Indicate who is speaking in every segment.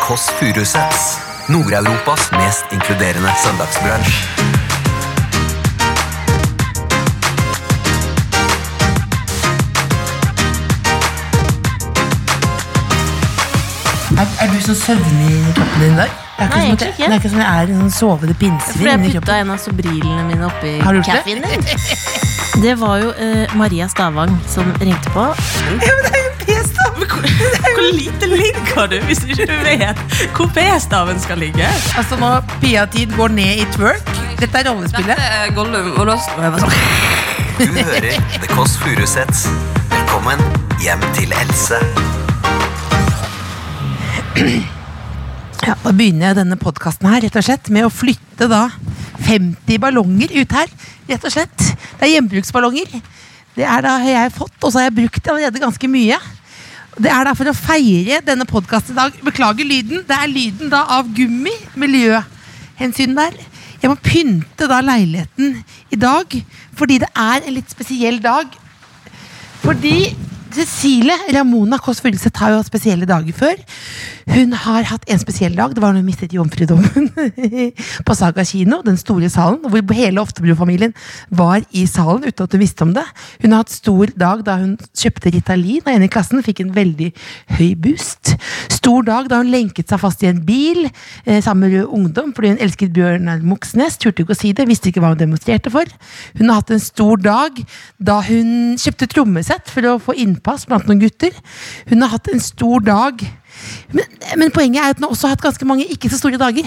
Speaker 1: Kåss Furuseths. Nord-Europas mest inkluderende søndagsbransj.
Speaker 2: Er, er du så søvnig i kroppen din i dag? Det er
Speaker 3: Nei,
Speaker 2: som at jeg-
Speaker 3: egentlig ikke.
Speaker 2: Det er ikke som at jeg er i sånn sovende
Speaker 3: For
Speaker 2: pinnsvin
Speaker 3: jeg
Speaker 2: inni
Speaker 3: putta
Speaker 2: kroppen.
Speaker 3: en av sobrilene mine oppi
Speaker 2: Har du gjort det?
Speaker 3: kaffen din. Det var jo eh, Maria Stavang som ringte på.
Speaker 4: Hvor lite ligger du hvis ikke du vet hvor B-staven skal ligge?
Speaker 2: Altså nå, Pia-tid går ned i twerk. Dette er rollespillet.
Speaker 4: er Eh, Gollum og Lost.
Speaker 1: Du hører The Kåss Furuseths. Velkommen hjem til Else.
Speaker 2: Ja, da begynner jeg denne podkasten her, rett og slett, med å flytte da 50 ballonger ut her. Rett og slett. Det er hjemmebruksballonger. Det er da har jeg fått, og så har jeg brukt allerede ganske mye. Det er da for å feire denne podkasten i dag. Beklager lyden. Det er lyden da av gummi. Miljøhensyn der. Jeg må pynte da leiligheten i dag, fordi det er en litt spesiell dag. Fordi Cecilie Ramona Kåss Furuseth har jo hatt spesielle dager før. Hun har hatt en spesiell dag. Det var da hun mistet jomfrudommen på Saga kino. Den store salen hvor hele Oftebro-familien var i salen uten at hun visste om det. Hun har hatt stor dag da hun kjøpte Ritalin av en i klassen. Fikk en veldig høy boost. Stor dag da hun lenket seg fast i en bil eh, sammen med Rød Ungdom fordi hun elsket Bjørnar Moxnes. Turte ikke å si det, visste ikke hva hun demonstrerte for. Hun har hatt en stor dag da hun kjøpte trommesett for å få innpass blant noen gutter. Hun har hatt en stor dag men, men poenget er at hun har også hatt ganske mange ikke så store dager.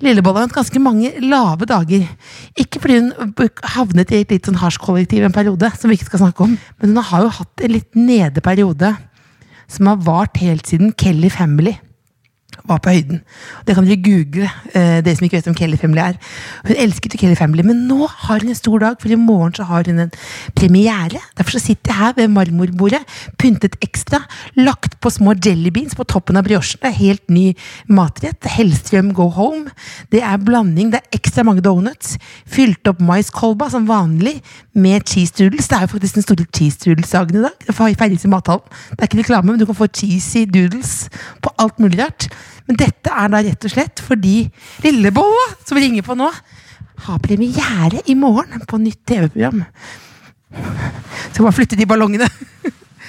Speaker 2: Lillebolla har hatt ganske mange lave dager. Ikke fordi hun b- havnet i et litt sånn hasjkollektiv en periode, som vi ikke skal snakke om, men hun har jo hatt en litt nede periode som har vart helt siden Kelly Family var på høyden. Det kan dere google, eh, dere som ikke vet hvem Kelly Family er. Hun elsket jo Kelly Family, men nå har hun en stor dag, for i morgen så har hun en premiere. Derfor så sitter jeg her ved marmorbordet, pyntet ekstra, lagt på små jelly beans på toppen av briochene. Helt ny matrett. Hellstrøm Go Home. Det er blanding, det er ekstra mange donuts. Fylt opp maiskolba som vanlig med cheese doodles. Det er jo faktisk den store cheese doodles-dagen i dag. Det feires i mathallen. Det er ikke reklame, men du kan få cheesy doodles på alt mulig rart. Men dette er da rett og slett fordi Lillebolla, som vi ringer på nå, har premiere i morgen på nytt TV-program. Skal bare flytte de ballongene.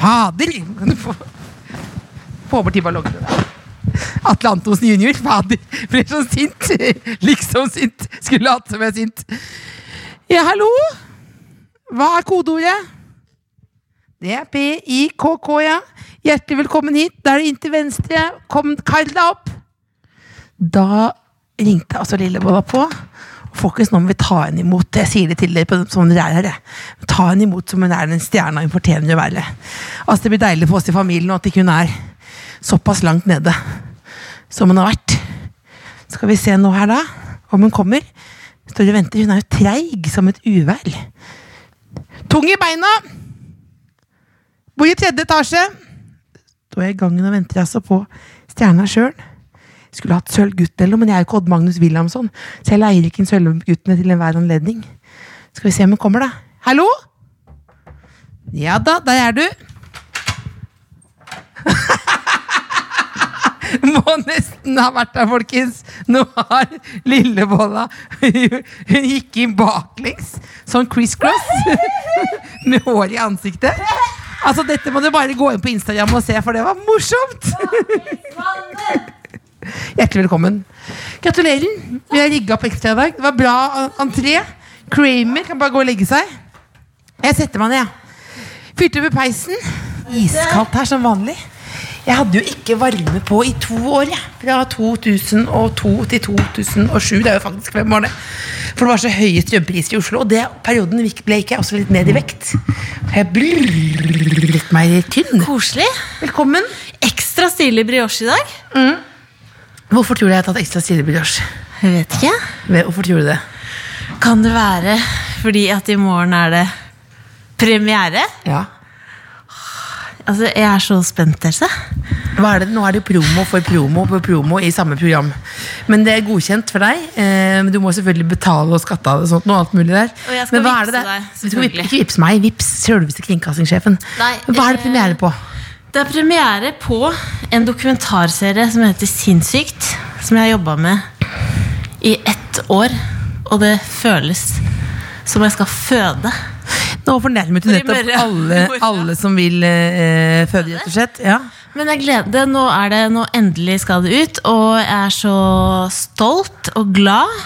Speaker 2: Fader! Kan du få, få bort de ballongene der. Atle Antonsen jr. Fader, ble så sint. Liksom sint. Skulle hatt som jeg er sint. Ja, hallo? Hva er kodeordet? Det er PIKK, ja. Hjertelig velkommen hit. Da er det inn til venstre. Kom, kall deg opp. Da ringte altså Lillebolla på. Folkens, nå må vi ta henne imot. Jeg sier det til dere på, som dere er her. jeg. Ta henne imot som hun er den stjerna hun fortjener å være. Altså, det blir deilig for oss i familien at ikke hun er såpass langt nede som hun har vært. Skal vi se nå her, da. Om hun kommer. Står og venter. Hun er jo treig som et uvær. Tung i beina! Bor i tredje etasje. Står jeg i gangen og venter altså på stjerna sjøl. Skulle hatt Sølvgutten, men jeg er jo ikke Odd Magnus Wilhelmsson. Så jeg leier ikke inn Sølvguttene til enhver anledning. Skal vi se om hun kommer, da. Hallo? Ja da, der er du. Må nesten ha vært der, folkens. Nå har lillebolla Hun gikk inn baklengs, sånn criss-cross, med hår i ansiktet. Altså, Dette må du bare gå inn på Instagram og se, for det var morsomt! Hjertelig velkommen. Gratulerer. Vi har rigga opp ekstra i dag. Det var bra entré. Kramer kan bare gå og legge seg. Jeg setter meg ned, jeg. Fyrte over peisen. Iskaldt her som vanlig. Jeg hadde jo ikke varme på i to år, jeg. Fra 2002 til 2007. Det er jo faktisk fem år, det. For det var så høye strømpriser i Oslo. Og det perioden ble ikke jeg også litt ned i vekt. Jeg brrrret meg tynn.
Speaker 3: Koselig.
Speaker 2: Velkommen.
Speaker 3: Ekstra stilig brioche i dag.
Speaker 2: Hvorfor tror du jeg har tatt ekstra stillebrioche?
Speaker 3: Jeg vet ikke.
Speaker 2: Hvorfor tror du det?
Speaker 3: Kan det være fordi at i morgen er det premiere?
Speaker 2: Ja.
Speaker 3: Altså, jeg er så spent, Else.
Speaker 2: Hva er det? Nå er det jo promo for promo for promo i samme program. Men det er godkjent for deg. eh, men Du må selvfølgelig betale og skatte av det. Sånt, noe alt mulig der.
Speaker 3: Og jeg skal
Speaker 2: men hva er det
Speaker 3: vippse
Speaker 2: der?
Speaker 3: deg,
Speaker 2: Du skal vipp-
Speaker 3: selvfølgelig.
Speaker 2: Ikke vips meg, vips selveste kringkastingssjefen.
Speaker 3: Nei,
Speaker 2: hva er det
Speaker 3: eh,
Speaker 2: premiere på?
Speaker 3: Det er premiere på en dokumentarserie som heter Sinnssykt. Som jeg har jobba med i ett år. Og det føles som jeg skal føde.
Speaker 2: Nå fornærmet du
Speaker 3: For i
Speaker 2: nettopp
Speaker 3: morgen.
Speaker 2: alle,
Speaker 3: I morgen.
Speaker 2: alle som vil eh, føde, rett og slett. Ja.
Speaker 3: Men jeg gleder det. Nå er det, nå endelig skal det ut. Og jeg er så stolt og glad.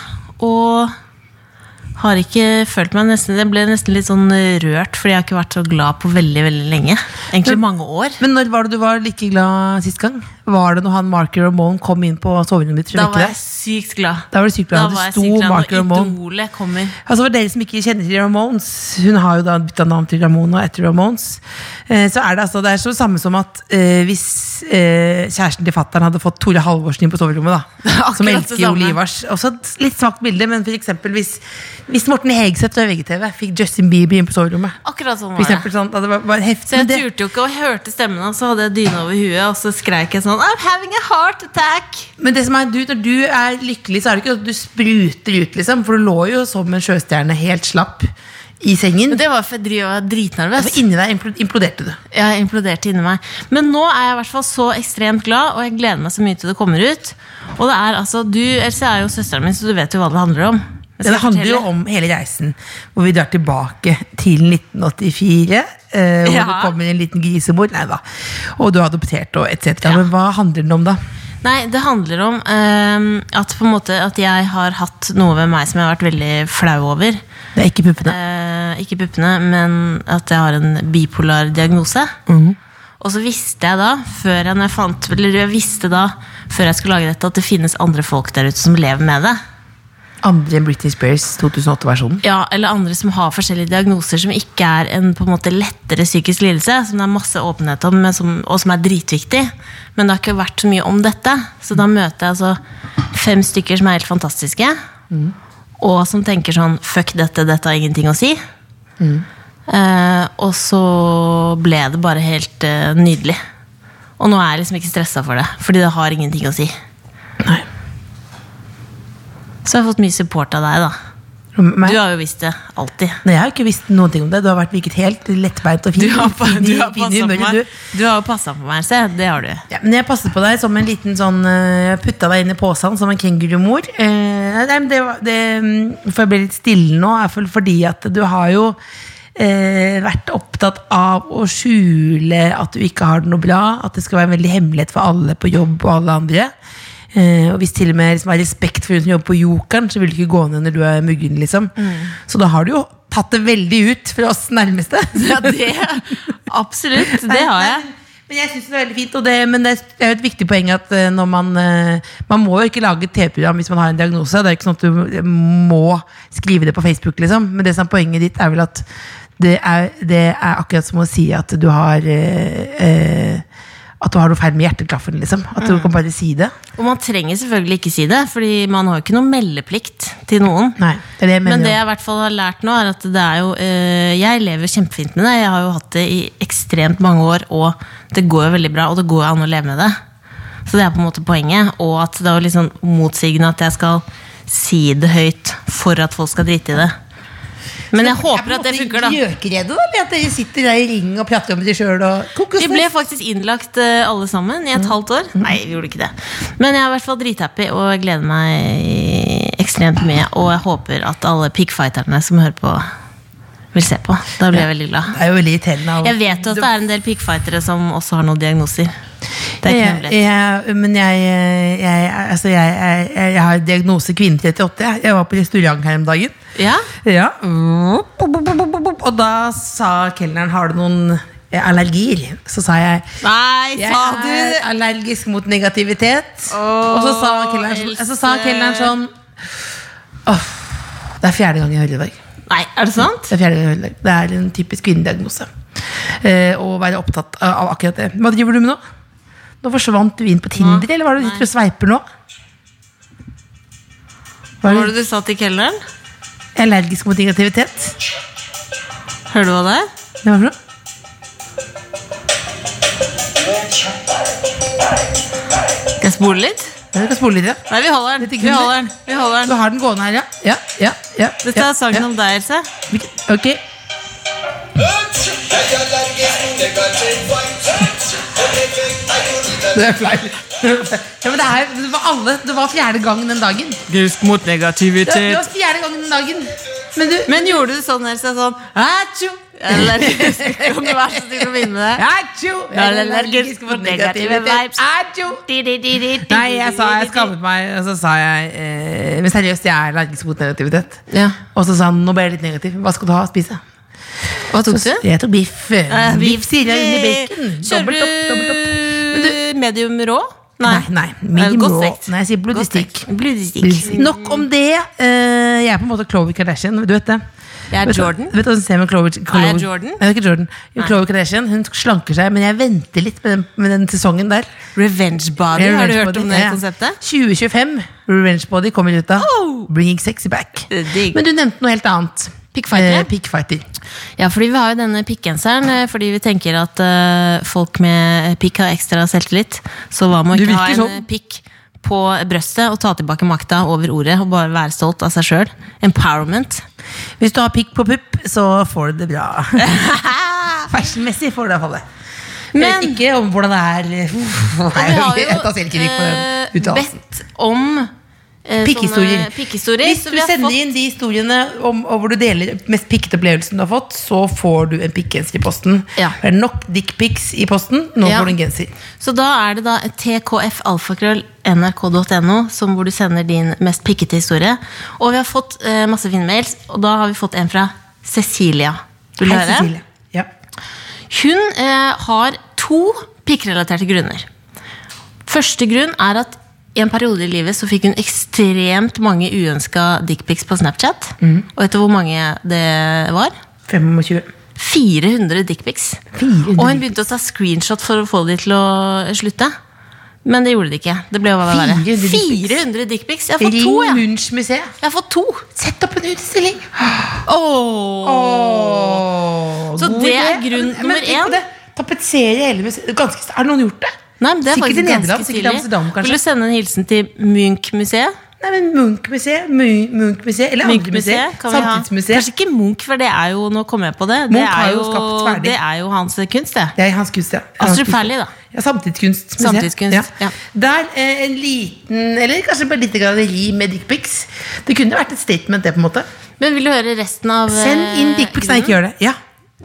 Speaker 3: Og har ikke følt meg nesten Jeg ble nesten litt sånn rørt, fordi jeg har ikke vært så glad på veldig veldig lenge. Egentlig mange år.
Speaker 2: Men når var det du var like glad sist gang? Var det når han Marker Ramone kom inn på soverommet ditt? for å
Speaker 3: Da
Speaker 2: vekke
Speaker 3: var
Speaker 2: deg?
Speaker 3: jeg sykt glad.
Speaker 2: Da var du sykt glad.
Speaker 3: Da
Speaker 2: Det
Speaker 3: var jeg
Speaker 2: sto
Speaker 3: sykt glad når
Speaker 2: Mark Ramone.
Speaker 3: Idolet kommer.
Speaker 2: Altså For dere som ikke kjenner til Ramones, hun har jo da bytta navn til Ramone og etter Ramones, eh, så er det altså Det er så samme som at eh, hvis eh, kjæresten til fattern hadde fått Tore Halvorsen inn på soverommet, da.
Speaker 3: Akkurat
Speaker 2: Som
Speaker 3: det
Speaker 2: elsker jo
Speaker 3: samme.
Speaker 2: Livars. Også et litt svakt bilde, men for eksempel hvis, hvis Morten Hegseth fra VGTV fikk Justin Bieber inn på soverommet.
Speaker 3: Akkurat sånn
Speaker 2: For
Speaker 3: var det.
Speaker 2: eksempel sånn, da det var, var heftig
Speaker 3: Så jeg
Speaker 2: men det-
Speaker 3: turte jo ikke å hørte stemmen hans, så hadde jeg dyna over huet, og så skreik jeg sånn I'm having a heart attack!
Speaker 2: Men det som er, du, når du er lykkelig, så er det ikke sånn at du spruter ut, liksom. For du lå jo som en sjøstjerne, helt slapp, i sengen.
Speaker 3: Men det var for jeg dri- var dritnervøs.
Speaker 2: Og inni deg impl- imploderte du.
Speaker 3: Jeg imploderte inni meg. Men nå er jeg i hvert fall så ekstremt glad, og jeg gleder meg så mye til det kommer ut. Og det er altså, du, Else er jo søsteren min, så du vet jo hva det handler om. Jeg
Speaker 2: Ja,
Speaker 3: skal
Speaker 2: det handler jo
Speaker 3: fortelle.
Speaker 2: om hele reisen, hvor vi drar tilbake til 1984. Eh, hvor
Speaker 3: Ja.
Speaker 2: det kommer en liten grisemor. Nei da. Og du har adoptert og etc. Men hva handler den om, da?
Speaker 3: Nei, det handler om eh, at, på en måte, at jeg har hatt noe ved meg som jeg har vært veldig flau over.
Speaker 2: Det er ikke puppene.
Speaker 3: Eh, ikke puppene, men at jeg har en bipolar diagnose.
Speaker 2: Mhm.
Speaker 3: Og så visste jeg da, før jeg, når jeg fant, eller jeg visste da, før jeg skulle lage dette, at det finnes andre folk der ute som lever med det.
Speaker 2: Andre enn Britney Spears 2008-versjonen.
Speaker 3: Ja, Eller andre som har forskjellige diagnoser som ikke er en på en måte lettere psykisk lidelse. Som det er masse åpenhet om, men som, og som er dritviktig. Men det har ikke vært så mye om dette. Så da møter jeg altså fem stykker som er helt fantastiske. Og som tenker sånn Fuck dette, dette har ingenting å si. Eh, og så ble det bare helt eh, nydelig. Og nå er jeg liksom ikke stressa for det, fordi det har ingenting å si.
Speaker 2: Nei.
Speaker 3: Så jeg har fått mye support av deg, da.
Speaker 2: Meg?
Speaker 3: Du har jo visst det alltid.
Speaker 2: Nei, jeg har ikke visst noen ting om det. Du har vært virket helt lettbeint og fin.
Speaker 3: Du har,
Speaker 2: fin i-
Speaker 3: du har
Speaker 2: fin i
Speaker 3: passet på
Speaker 2: humøret,
Speaker 3: meg.
Speaker 2: du.
Speaker 3: Du har jo passa på meg, se. Det har du.
Speaker 2: Ja, men jeg passet på deg som en liten sånn eh, Putta deg inn i posen som en kengurumor. Eh, nei, men det, var- det, mm, for jeg ble litt stille nå, er for, fordi at du har jo eh, vært opptatt av å skjule at du ikke har det noe bra. At det skal være en veldig hemmelighet for alle på jobb og alle andre. Eh, og hvis til og med liksom, er respekt for hun som jobber på Jokeren, så vil du ikke gå ned når du er muggen. Liksom.
Speaker 3: Mm.
Speaker 2: Så da har du jo tatt det veldig ut for oss nærmeste.
Speaker 3: Ja, det, absolutt. Det har
Speaker 2: Nei,
Speaker 3: jeg.
Speaker 2: nei, Men jeg synes det er veldig fint, og det, men det er jo et viktig poeng at eh, når man eh, Man må jo ikke lage et TV-program hvis man har en diagnose. Det er jo ikke sånn at du må skrive det på Facebook, liksom. Men det som er poenget ditt, er vel at det er, det er akkurat som å si at du har eh, eh, At du har noe feil med hjerteklaffen, liksom. At
Speaker 3: Mm.
Speaker 2: du kan bare si det.
Speaker 3: Og man trenger selvfølgelig ikke si det, Fordi man har jo ikke noen meldeplikt til noen.
Speaker 2: Nei, det er det jeg mener.
Speaker 3: Men det jeg i hvert fall har lært nå, er at det er jo eh, Jeg lever kjempefint med det. Jeg har jo hatt det i ekstremt mange år, og det går jo veldig bra, og det går jo an å leve med det. Så det er på en måte poenget. Og at det er jo litt sånn motsigende at jeg skal si det høyt for at folk skal drite i det. Men jeg håper at det funker, da.
Speaker 2: Gjøkeredet, da? Eller at dere sitter der i ring og prater om det sjøl og
Speaker 3: Vi ble faktisk innlagt eh, alle sammen
Speaker 2: Mm.
Speaker 3: i et halvt år. Nei, vi gjorde ikke det. Men jeg er i hvert fall drithappy og jeg gleder meg ekstremt mye. Og jeg håper at alle piggfighterne som hører på, vil se på. Da blir jeg veldig glad.
Speaker 2: Det er jo veldig irriterende. av-
Speaker 3: Jeg vet jo at det er en del piggfightere som også har noen diagnoser. Det er ikke noe
Speaker 2: jeg,
Speaker 3: lett.
Speaker 2: jeg, men jeg, jeg, altså jeg, jeg, jeg, jeg har diagnose kvinne 38. jeg. Jeg var på restaurant her om dagen.
Speaker 3: Ja?
Speaker 2: Ja. Og da sa kelneren har du noen eh, allergier. Så sa jeg
Speaker 3: Nei,
Speaker 2: jeg
Speaker 3: sa
Speaker 2: er
Speaker 3: du!
Speaker 2: allergisk mot negativitet.
Speaker 3: Åh,
Speaker 2: og så sa kelneren sånn,
Speaker 3: Else.
Speaker 2: så sa kelneren sånn «Åh, Det er fjerde gang jeg hører det i dag.
Speaker 3: Nei, er det sant?
Speaker 2: Det er, fjerde gang. det er en typisk kvinnediagnose. Eh, å være opptatt av akkurat det. Hva driver du med nå? Nå forsvant du inn på Tinder, eller hva er det du sitter og sveiper nå? Hva
Speaker 3: Hva
Speaker 2: er
Speaker 3: var
Speaker 2: det?
Speaker 3: det du sa til kelneren?
Speaker 2: Jeg er allergisk mot negativitet.
Speaker 3: Hører du hva det er?
Speaker 2: Hva er det for noe?
Speaker 3: Skal jeg spole litt?
Speaker 2: Jeg skal spole litt, ja.
Speaker 3: Nei, vi holder den. Vi holder den. Vi holder
Speaker 2: Du
Speaker 3: den.
Speaker 2: har den gående her, ja. ja, ja, ja
Speaker 3: Dette
Speaker 2: ja,
Speaker 3: er sangen
Speaker 2: ja.
Speaker 3: om deg, Else.
Speaker 2: Hvilken- Ok.
Speaker 5: Jeg er allergisk mot negativ vibe.
Speaker 2: Det er feil. Ja, men det, er, det, var alle, det var fjerde gang den dagen.
Speaker 5: Husk mot
Speaker 2: Det, det
Speaker 5: negativitet.
Speaker 2: var fjerde gang den dagen. Men du
Speaker 3: Men gjorde du sånn eller så sånn Atsjo! Eller kan du være så snill å begynne med det?
Speaker 2: Atsjo!
Speaker 3: Jeg er allergisk mot negative vibes.
Speaker 2: Atsjo!
Speaker 3: Di, di, di, di, di,
Speaker 2: Nei, jeg sa jeg
Speaker 3: di, di, di.
Speaker 2: skammet meg, og så sa jeg eh, Men seriøst, jeg er allergisk mot negativitet.
Speaker 3: Ja.
Speaker 2: Og så sa han nå ble jeg litt negativ. Hva skal du ha å spise?
Speaker 3: Hva tok du?
Speaker 2: Jeg tok biff.
Speaker 3: Eh,
Speaker 2: biff sier jeg under bacon.
Speaker 3: Kjører
Speaker 2: Dobbelt opp, dobbelt opp.
Speaker 3: du medium rå? Eh,
Speaker 2: Nei, nei. medium
Speaker 3: Godt
Speaker 2: raw.
Speaker 3: stekt.
Speaker 2: Nei, jeg sier blodig
Speaker 3: Godt stekt.
Speaker 2: stikk.
Speaker 3: Blodig stikk.
Speaker 2: Nok om det. Eh, jeg er på en måte Chloé Kardashian. Du vet det.
Speaker 3: Jeg er
Speaker 2: vet, du-
Speaker 3: Jordan.
Speaker 2: Vet du hva som skjer med Chloé Chloe,
Speaker 3: Er jeg Jordan?
Speaker 2: Nei, det er ikke Jordan. Jo, Chloe Kardashian hun slanker seg, men jeg venter litt med den, med den sesongen der.
Speaker 3: Revenge body, har du
Speaker 2: Revenge
Speaker 3: hørt
Speaker 2: Body.
Speaker 3: om det
Speaker 2: Ja, ja.
Speaker 3: konseptet?
Speaker 2: 2025. Revenge Body kommer ut av.
Speaker 3: Oh!
Speaker 2: Bringing sexy back.
Speaker 3: Det er digg.
Speaker 2: Men du nevnte noe helt annet.
Speaker 3: Pickfighter?
Speaker 2: Eh, pickfighter.
Speaker 3: Ja, fordi vi har jo denne pikkgenseren eh, fordi vi tenker at eh, folk med pikk har ekstra selvtillit. Så hva med å
Speaker 2: Du
Speaker 3: ikke ha en
Speaker 2: virker
Speaker 3: eh,
Speaker 2: sånn.
Speaker 3: pikk på brøstet og ta tilbake makta over ordet og bare være stolt av seg sjøl? Empowerment.
Speaker 2: Hvis du har pikk på pupp, så får du det bra. Fashionmessig får du det iallfall det. Men
Speaker 3: Men-
Speaker 2: ikke om hvordan det er Uff,
Speaker 3: Og
Speaker 2: Nei,
Speaker 3: vi har jo
Speaker 2: jeg tar selvkritikk på
Speaker 3: eh,
Speaker 2: den uttalelsen.
Speaker 3: bedt om eh,
Speaker 2: Pikkhistorier.
Speaker 3: sånne pikkhistorier,
Speaker 2: Hvis
Speaker 3: så
Speaker 2: du
Speaker 3: vi har
Speaker 2: sender
Speaker 3: fått-
Speaker 2: inn de historiene om, og hvor du deler mest pikkete opplevelsen du har fått, så får du en pikkgenser i posten.
Speaker 3: Ja.
Speaker 2: Det er nok dickpics i posten, nå
Speaker 3: Ja.
Speaker 2: får du en genser.
Speaker 3: Så da er det da tkfalfakrøll.nrk.no, som hvor du sender din mest pikkete historie. Og vi har fått eh, masse fine mails, og da har vi fått en fra Cecilia. Vil du
Speaker 2: Hei,
Speaker 3: høre?
Speaker 2: Cecilie. Ja.
Speaker 3: Hun eh, har to pikkrelaterte grunner. Første grunn er at i en periode i livet så fikk hun ekstremt mange uønska dickpics på Snapchat. Og vet du hvor mange det var?
Speaker 2: 25.
Speaker 3: 400 dickpics.
Speaker 2: 400
Speaker 3: Og hun begynte å ta screenshot for å få de til å slutte. Men det gjorde de ikke. Det ble jo bare verre.
Speaker 2: 400 dickpics.
Speaker 3: 400 dickpics! Jeg har fått to,
Speaker 2: Ring
Speaker 3: jeg.
Speaker 2: Munchs museet.
Speaker 3: Jeg har fått to.
Speaker 2: Sett opp en utstilling! Åh,
Speaker 3: Så
Speaker 2: god
Speaker 3: det
Speaker 2: idé.
Speaker 3: er grunn
Speaker 2: Men- men
Speaker 3: nummer
Speaker 2: tenk på
Speaker 3: én.
Speaker 2: det. Tapetsere hele museet. Ganske, har noen gjort det?
Speaker 3: Nei, men det er
Speaker 2: Sikkert i
Speaker 3: faktisk
Speaker 2: Nederland,
Speaker 3: ganske
Speaker 2: sikkert i Amsterdam,
Speaker 3: tidlig.
Speaker 2: kanskje.
Speaker 3: Vil du sende en hilsen til Munch-museet?
Speaker 2: Nei, men Munch-museet, Mu- Munch-museet eller andre museer.
Speaker 3: Munch-museet kan vi ha.
Speaker 2: Samtidsmuseet.
Speaker 3: Kanskje ikke Munch, for det er jo Nå kommer jeg på det. Det
Speaker 2: Munch har
Speaker 3: er
Speaker 2: jo
Speaker 3: jo,
Speaker 2: skapt ferdig.
Speaker 3: det er jo hans kunst, det.
Speaker 2: Det er hans kunst, ja.
Speaker 3: Astrup
Speaker 2: Hans kunst.
Speaker 3: Fearnley, da.
Speaker 2: Ja, samtidskunst.
Speaker 3: Samtidskunst, ja.
Speaker 2: Der eh, en liten, eller kanskje bare et lite galleri med dickpics. Det kunne vært et statement, det, på en måte.
Speaker 3: Men vil du høre resten av
Speaker 2: Send inn
Speaker 3: eh,
Speaker 2: dickpics. Nei, ikke gjør det. Ja.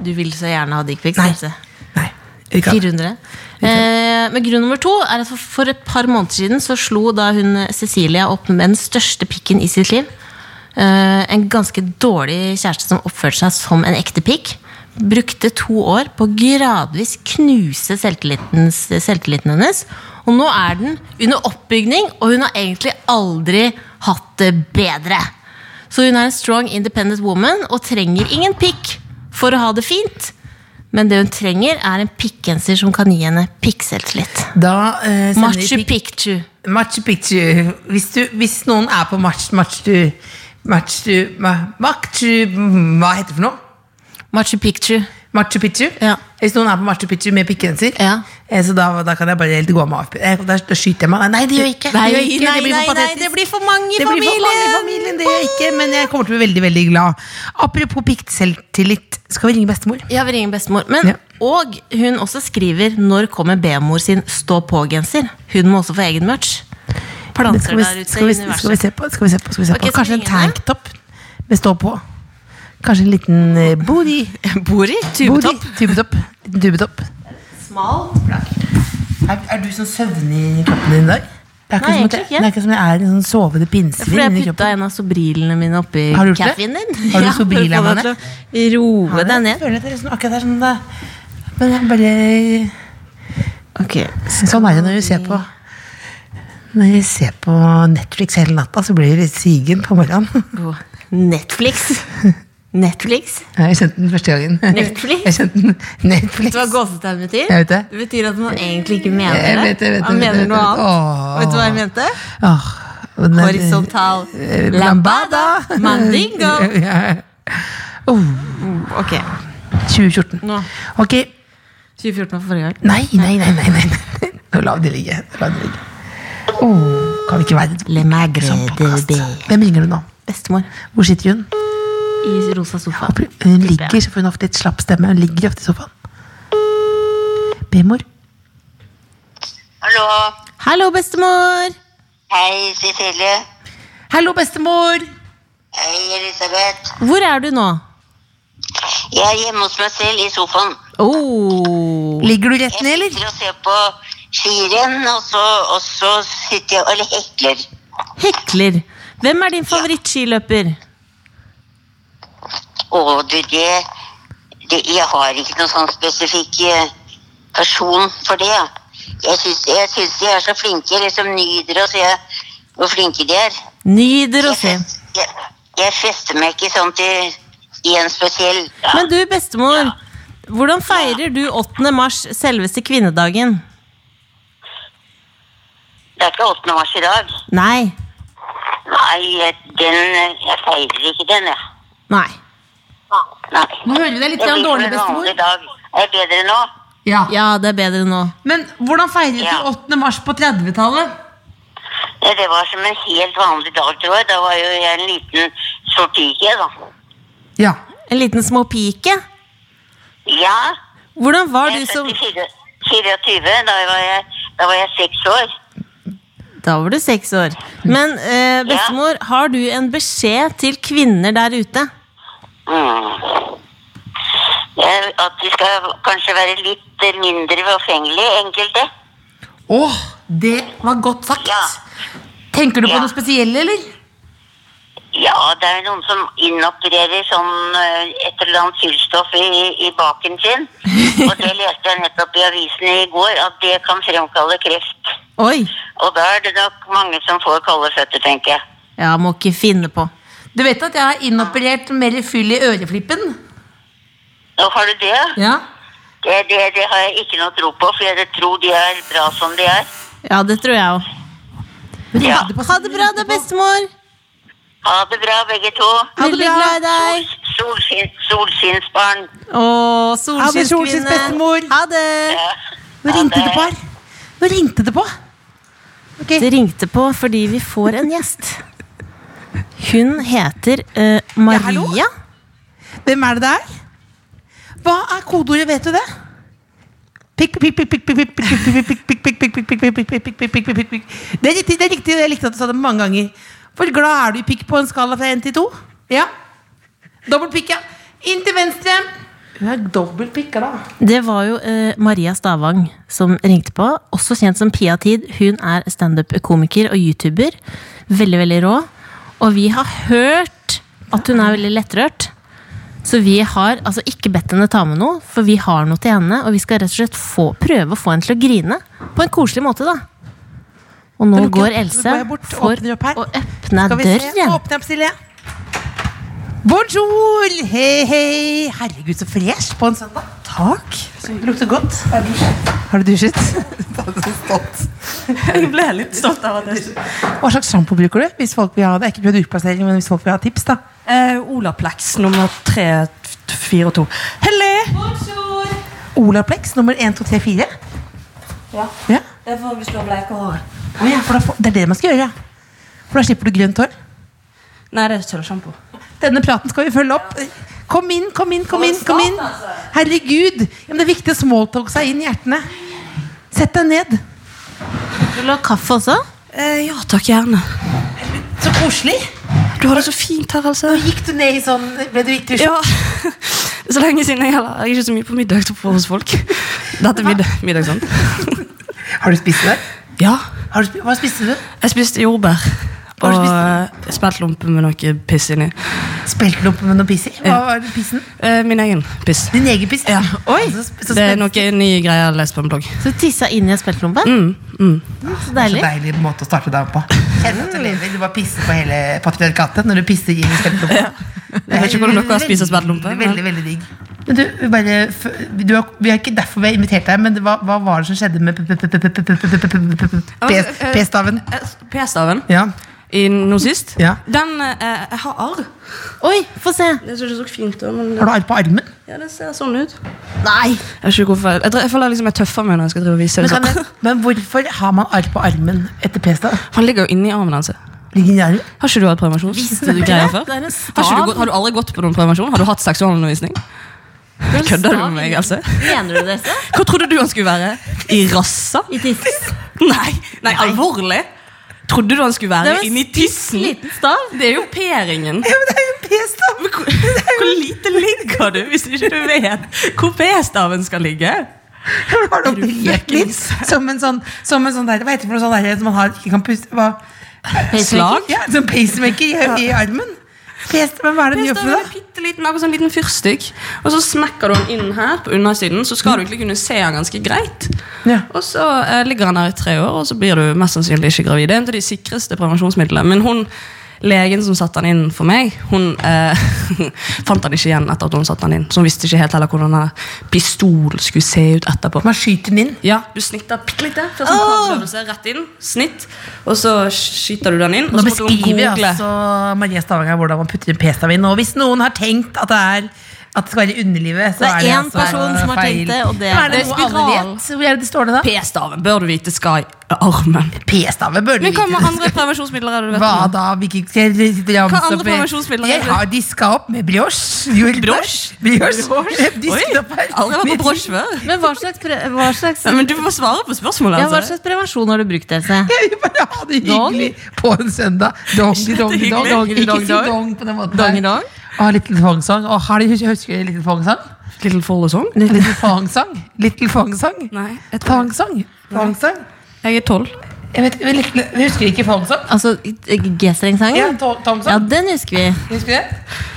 Speaker 3: Du vil så gjerne ha dickpics?
Speaker 2: Nei.
Speaker 3: Else.
Speaker 2: Nei. Ikke ha det.
Speaker 3: 400. Eh, men grunn nummer to er at for, for et par måneder siden så slo da hun eh, Cecilia opp med den største pikken i sitt liv. Eh, en ganske dårlig kjæreste som oppførte seg som en ekte pikk. Brukte to år på å gradvis knuse selvtilliten, selvtilliten hennes. Og nå er den under oppbygning, og hun har egentlig aldri hatt det bedre. Så hun er en strong, independent woman og trenger ingen pikk for å ha det fint. Men det hun trenger, er en pikkgenser som kan gi henne pikkselvtillit.
Speaker 2: Da eh, sender
Speaker 3: Machu
Speaker 2: vi pic-
Speaker 3: Picchu.
Speaker 2: Machu Picchu. Hvis, du, hvis noen er på Machu Machu Machu Ma- Machu Hva heter det for noe?
Speaker 3: Machu Picchu.
Speaker 2: Machu Picchu?
Speaker 3: Ja.
Speaker 2: Hvis noen er på Machu Picchu med pikkegenser,
Speaker 3: Ja.
Speaker 2: eh, så da, da kan jeg bare helt gå av meg av. Eh, Da, da skyter jeg meg. Nei, Nei, det gjør jeg ikke.
Speaker 3: Nei,
Speaker 2: det gjør jeg ikke.
Speaker 3: nei,
Speaker 2: det blir
Speaker 3: nei,
Speaker 2: for
Speaker 3: nei,
Speaker 2: patetisk.
Speaker 3: det blir for mange i
Speaker 2: Det blir for mange i familien, det gjør jeg ikke, men jeg kommer til å bli veldig, veldig glad. Apropos pikkselvtillit, skal vi ringe bestemor?
Speaker 3: Ja, vi ringer bestemor. Men,
Speaker 2: Ja.
Speaker 3: Og hun også skriver 'Når kommer B-mor sin stå på-genser'? Hun må også få egen merch.
Speaker 2: Det
Speaker 3: Planter
Speaker 2: Skal vi,
Speaker 3: der ute
Speaker 2: skal,
Speaker 3: i
Speaker 2: vi, skal vi
Speaker 3: universet.
Speaker 2: se på? Skal vi se på, skal vi se
Speaker 3: Ok,
Speaker 2: på.
Speaker 3: skal
Speaker 2: Kanskje
Speaker 3: vi
Speaker 2: en
Speaker 3: ringe henne?
Speaker 2: tanktopp med stå på. Kanskje en liten eh, booty.
Speaker 3: Bor i
Speaker 2: Booty.
Speaker 3: tubetopp.
Speaker 2: Tubetopp. Liten Tubetopp.
Speaker 3: Smalt plagg.
Speaker 2: Er, er du sånn søvnig i kroppen din i dag? Det er ikke,
Speaker 3: Nei,
Speaker 2: som, at
Speaker 3: egentlig
Speaker 2: jeg,
Speaker 3: ikke.
Speaker 2: det er ikke som jeg er en sånn sovende
Speaker 3: Fordi
Speaker 2: pinnsvin
Speaker 3: jeg
Speaker 2: inni
Speaker 3: putta
Speaker 2: kroppen.
Speaker 3: en av sobrilene mine oppi
Speaker 2: Har du gjort det?
Speaker 3: kaffen din.
Speaker 2: Har du
Speaker 3: Ja, for å
Speaker 2: Sobril
Speaker 3: få
Speaker 2: av
Speaker 3: meg til å Roe deg
Speaker 2: Jeg
Speaker 3: ned.
Speaker 2: føler at det er sånn, akkurat det er sånn det Men jeg bare
Speaker 3: Ok,
Speaker 2: Sånn er det når du ser på Når jeg ser på Netflix hele natta, så blir det sigen på morgenen.
Speaker 3: på Netflix. Netflix.
Speaker 2: Jeg kjente den første gangen.
Speaker 3: Netflix?
Speaker 2: Jeg kjente den Netflix.
Speaker 3: Vet du hva gåsetegn betyr?
Speaker 2: Jeg vet det.
Speaker 3: Det betyr at man egentlig ikke mener det.
Speaker 2: Jeg vet det, jeg vet det, jeg
Speaker 3: man
Speaker 2: vet
Speaker 3: mener
Speaker 2: det,
Speaker 3: noe
Speaker 2: jeg vet det. Åh.
Speaker 3: annet. Vet du hva jeg mente?
Speaker 2: Åh, og den er-
Speaker 3: Horisontal
Speaker 2: Eh,
Speaker 3: lambada mandingo.
Speaker 2: Ja.
Speaker 3: Ok,
Speaker 2: 2014.
Speaker 3: nå.
Speaker 2: Ok.
Speaker 3: 2014 var forrige gang.
Speaker 2: Nei, nei, nei. nei, nei. nei. Nå la vi det ligge. Nå La vi det ligge. Åh, kan vi ikke være et
Speaker 3: Le magre
Speaker 2: sånn podcast?
Speaker 3: de
Speaker 2: Hvem ringer du nå?
Speaker 3: Bestemor
Speaker 2: Hvor sitter hun?
Speaker 3: i rosa sofa.
Speaker 2: Hun ligger, så får hun ofte litt slapp stemme. Hun ligger ofte i sofaen. Bemor.
Speaker 5: Hallo.
Speaker 3: Hallo, bestemor!
Speaker 5: Hei, Cecilie.
Speaker 2: Hallo, bestemor!
Speaker 5: Hei, Elisabeth.
Speaker 3: Hvor er du nå?
Speaker 5: Jeg er hjemme hos meg selv i sofaen.
Speaker 3: Oh.
Speaker 2: Ligger du rett
Speaker 5: Jeg
Speaker 2: ned, eller?
Speaker 5: sitter og ser på skirenn, og så, og så sitter jeg og hekler.
Speaker 3: Hekler. Hvem er din favorittskiløper?
Speaker 5: Og du, det, det Jeg har ikke noen sånn spesifikk eh, person for det. Jeg syns, jeg syns de er så flinke. Jeg liksom nyter å se hvor flinke de er.
Speaker 3: Nyder å se.
Speaker 5: Jeg, jeg, jeg fester meg ikke sånn til i en spesiell ja.
Speaker 3: Men du, bestemor, hvordan feirer du 8. mars, selveste kvinnedagen?
Speaker 5: Det er ikke 8. mars i dag.
Speaker 3: Nei.
Speaker 5: Nei, jeg- den eh, Jeg feirer ikke den, jeg.
Speaker 3: Nei.
Speaker 5: Nei.
Speaker 2: Nå hører vi deg litt
Speaker 5: Jeg
Speaker 2: grann
Speaker 5: liker
Speaker 2: dårlig,
Speaker 5: en vanlig
Speaker 2: bestemor.
Speaker 5: dag. Er det bedre nå?
Speaker 2: Ja.
Speaker 3: Ja, det er bedre nå.
Speaker 2: Men hvordan feiret
Speaker 5: Ja.
Speaker 2: du 8. mars på 30-tallet?
Speaker 5: Ja, Det var som en helt vanlig dag, tror jeg. Da var jo jeg en liten sort pike, da.
Speaker 2: Ja.
Speaker 3: En liten småpike.
Speaker 5: Ja.
Speaker 3: Hvordan var du
Speaker 5: Jeg
Speaker 3: som
Speaker 5: er født i 24, da var jeg, da var jeg seks år.
Speaker 3: Da var du seks år. Men eh, bestemor, har du en beskjed til kvinner der ute?
Speaker 5: Mm. Jeg, at de skal kanskje være litt eh, mindre forfengelige, enkelte.
Speaker 2: Åh, det var godt sagt.
Speaker 5: Ja.
Speaker 2: Tenker du på
Speaker 5: Ja.
Speaker 2: noe spesielt, eller?
Speaker 5: Ja, det er noen som inopererer sånn eh, et eller annet fyllstoff i, i baken sin. Og det leste jeg nettopp i avisen i går, at det kan fremkalle kreft.
Speaker 3: Oi!
Speaker 5: Og da er det nok mange som får kalde føtter, tenker jeg.
Speaker 3: Ja, må ikke finne på.
Speaker 2: Du vet at jeg har inoperert mer fyll i øreflippen?
Speaker 5: Nå har du det?
Speaker 2: Ja.
Speaker 5: Det, det, det har jeg ikke noe tro på, for jeg tror de er bra som de er.
Speaker 3: Ja, det tror jeg òg.
Speaker 5: Ja.
Speaker 3: Ha det bra da, bestemor.
Speaker 5: Ha det bra, begge to.
Speaker 2: Ha det
Speaker 3: Veldig
Speaker 2: bra.
Speaker 3: glad i deg.
Speaker 5: Solskin, solskinnsbarn.
Speaker 3: Å,
Speaker 2: Ha det, solskinns
Speaker 3: solskinnskvinne.
Speaker 2: bestemor.
Speaker 3: Ha det.
Speaker 5: Ja.
Speaker 2: Nå
Speaker 5: Ha
Speaker 2: ringte
Speaker 5: det.
Speaker 2: det på her. Nå ringte det på. Ok.
Speaker 3: Det ringte på fordi vi får en gjest. Hun heter eh, Maria.
Speaker 2: Ja, Hvem er det det er? Hva er kodeordet, vet du det? Pikk, pikk, pikk, pikk, pikk, pikk, pikk, pikk, pikk, pikk, pikk, pikk, pikk, pikk, pikk, pikk, pikk, pikk, pikk, pikk, pikk. Det er riktig, det er riktig. Jeg likte at du sa det mange ganger. Hvor glad er du i pikk på en skala fra 1 til 2? Ja. Dobbelt pikk, ja. Inn til venstre. Hun er dobbelt pikk, da.
Speaker 3: Det var jo eh, Maria Stavang som ringte på. Også kjent som Pia Tid. Hun er standup-komiker og youtuber. Veldig, veldig rå. Og vi har hørt at hun er veldig lettrørt. Så vi har altså ikke bedt henne ta med noe, for vi har noe til henne. Og vi skal rett og slett få, prøve å få henne til å grine. På en koselig måte, da. Og nå
Speaker 2: Da lukker jeg opp.
Speaker 3: går
Speaker 2: Nå
Speaker 3: Else
Speaker 2: går jeg bort og
Speaker 3: for
Speaker 2: åpner opp her.
Speaker 3: å åpne
Speaker 2: Skal vi se.
Speaker 3: døren.
Speaker 2: Åpne opp, Silje. Bonjour! Hei, hei! Herregud, så fresh på en søndag. Takk. Det lukter godt. Har du dusjet?
Speaker 4: Jeg ble litt stolt av at jeg
Speaker 2: Hva slags sjampo bruker du? Hvis folk vil ha det? Ikke prøvd utplassering, men hvis folk vil ha tips, da.
Speaker 4: eh, Olaplex nummer 3, 4 og 2. Helle!
Speaker 2: Olaplex nummer 1, 2, 3, 4.
Speaker 4: Ja.
Speaker 2: Ja.
Speaker 4: Det får vi slå bleik og hår.
Speaker 2: Å ja, for da får, det er det man skal gjøre, ja. For da slipper du grønt hår.
Speaker 4: Nei, det er sølvsjampo.
Speaker 2: Denne praten skal vi følge opp. Kom inn, kom inn, kom inn. kom inn Herregud. Ja, men det er viktig å smalltalk seg inn i hjertene. Sett deg ned.
Speaker 3: Vil du ha kaffe også?
Speaker 4: Eh, ja takk, gjerne.
Speaker 2: Så koselig.
Speaker 4: Du har det så fint her, altså.
Speaker 2: Gikk du ned i sånn Ble du gikk du i sjokk?
Speaker 4: Ja. Så lenge siden jeg heller Jeg er ikke så mye på middag til på hos folk. Dette er middag, middag sant?
Speaker 2: Har du spist det?
Speaker 4: Ja.
Speaker 2: Har du spi- Hva spiste du?
Speaker 4: Jeg spiste jordbær.
Speaker 2: Har du
Speaker 4: Og speltlompe med noe piss inni.
Speaker 2: Speltlompe med noe piss i? Hva var det pissen?
Speaker 4: Eh, min egen piss.
Speaker 2: Din egen piss?
Speaker 4: Ja.
Speaker 2: Oi! Så, sp- så,
Speaker 4: Det er
Speaker 2: spen-
Speaker 4: noen nye greier jeg har lest på en blogg.
Speaker 3: Så du tissa inn i en speltlompe? Så
Speaker 2: så
Speaker 3: deilig.
Speaker 2: deilig måte å starte dagen på. Kjenn at du lever. Du bare pisser på hele patriarkatet når du pisser inn i speltlompa. Jeg
Speaker 4: vet ikke hvordan dere spiser speltlompe,
Speaker 2: Veldig,
Speaker 4: men-
Speaker 2: veldig, veldig digg. Men du, vi bare, f- du har, vi har ikke derfor vi har invitert deg, men det, hva, hva var det som skjedde med p- p- p- p- p- p- p- p- p- p- p-staven?
Speaker 4: Eh, P-staven
Speaker 2: Ja.
Speaker 4: i nå sist,
Speaker 2: Ja.
Speaker 4: den eh, Jeg har arr.
Speaker 3: Oi, få se.
Speaker 4: Det ser ikke så fint ut, men
Speaker 2: Har du arr på armen?
Speaker 4: ja, det ser sånn ut. Nei! Jeg, vet ikke hvorfor. jeg, tror- jeg føler liksom jeg tøffer meg når jeg skal drive og vise
Speaker 2: Men,
Speaker 4: det.
Speaker 2: kan
Speaker 4: sånn.
Speaker 2: jeg, men hvorfor har man arr på armen etter p-stav?
Speaker 4: Han ligger jo inni armen hans.
Speaker 2: Ligger den i armen?
Speaker 4: Har ikke du hatt prevensjon?
Speaker 3: Visste du ikke
Speaker 4: Greier
Speaker 3: det?
Speaker 4: før?
Speaker 3: Det er en
Speaker 4: Har, ikke
Speaker 3: stav.
Speaker 4: du, gått- har du aldri gått på noen prevensjon? Har du hatt seksualundervisning? Kødder du med meg, altså?
Speaker 3: Mener du det, Else?
Speaker 4: Hvor trodde du han skulle være? I rassa?
Speaker 3: I tiss?
Speaker 4: Nei, nei, alvorlig? Trodde du han skulle
Speaker 3: Det
Speaker 4: være
Speaker 3: var en
Speaker 4: inni tissen?
Speaker 3: liten stav.
Speaker 4: Det er jo P-ringen.
Speaker 2: Ja, men det er jo p-stav!
Speaker 4: Hvor lite ligger du hvis ikke du vet hvor P-staven skal ligge?
Speaker 2: Har du operert
Speaker 4: fuckings-
Speaker 2: litt? Som en sånn, som en sånn der, hva heter det for noe sånn der som man har, ikke kan puste hva?
Speaker 4: Slag?
Speaker 2: Ja, som pacemaker i, i armen. P-stav, men hva er det den gjør for
Speaker 4: P-staven
Speaker 2: noe?
Speaker 4: er pitteliten, akkurat som en liten fyrstikk. Og så smekker du den inn her på undersiden, så skal du egentlig kunne se han ganske greit.
Speaker 2: Mm. Ja.
Speaker 4: Og så eh, ligger han der i tre år, og så blir du mest sannsynlig ikke gravid. Det er en av de sikreste prevensjonsmidlene. Men hun, legen som satte han inn for meg, hun eh, fant han ikke igjen etter at hun satte han inn. Så hun visste ikke helt heller hvordan denne pistolen skulle se ut etterpå.
Speaker 2: Man skyter den inn.
Speaker 4: Ja, du snitter bitte litt der. Først en påprøvelse, rett inn, snitt, og så skyter du den inn. Og
Speaker 2: Nå
Speaker 4: så måtte hun
Speaker 2: beskriver jeg
Speaker 4: google.
Speaker 2: altså Maria Stavanger hvordan man putter en p-stav inn. Og hvis noen har tenkt at det er at det skal være i underlivet, så
Speaker 3: Det er
Speaker 2: er det
Speaker 3: én
Speaker 2: altså
Speaker 3: person som har
Speaker 2: feil.
Speaker 3: tenkt det, og det er-
Speaker 2: Men er det,
Speaker 4: Det er
Speaker 2: noe alle
Speaker 4: spiral.
Speaker 2: vet? Hvor er det det står det, da?
Speaker 4: P-staven bør du vite skal i armen.
Speaker 2: P-staven bør du
Speaker 4: Men hva med
Speaker 2: vite.
Speaker 4: andre prevensjonsmidler er det du vet
Speaker 2: Hva
Speaker 4: om?
Speaker 2: da? Hvilke skal jeg sitte og ramse
Speaker 4: Hva andre
Speaker 2: opp i-
Speaker 4: prevensjonsmidler er
Speaker 2: Jeg
Speaker 4: det?
Speaker 2: har diska opp med brioche. Jo, helt
Speaker 4: Brioche?
Speaker 2: klart. Brioche.
Speaker 4: Brioche?
Speaker 2: Disket
Speaker 4: Oi,
Speaker 2: opp her.
Speaker 4: Aldri vært på brosj før.
Speaker 3: Men hva slags, pre hva slags,
Speaker 4: Nei, men du må svare på spørsmålet.
Speaker 3: ja, hva
Speaker 4: Altså.
Speaker 3: slags prevensjon har du brukt, Else?
Speaker 2: Jeg vil bare ha det
Speaker 3: Dong?
Speaker 2: hyggelig på en søndag. Dong, dong,
Speaker 4: Kjempehyggelig.
Speaker 2: dong.
Speaker 4: Dong,
Speaker 2: Ikke
Speaker 4: dong,
Speaker 2: si
Speaker 4: dong.
Speaker 2: dong på den måten.
Speaker 4: Dong,
Speaker 2: her.
Speaker 4: dong.
Speaker 2: Å, Little Fong-sang. Å, har de- Husker du Little Fong-sang?
Speaker 4: Little Follesong?
Speaker 2: Little Fong-sang? Little Fong-sang?
Speaker 4: Nei, jeg tror
Speaker 2: Fangsang. Fangsang.
Speaker 4: Jeg er tolv.
Speaker 2: Jeg vet, jeg vet- jeg husker ikke fangsang.
Speaker 3: Altså G-strengsangen?
Speaker 2: Ja, sånn. to- Tomsang.
Speaker 3: Ja, den husker vi.
Speaker 2: Husker du det?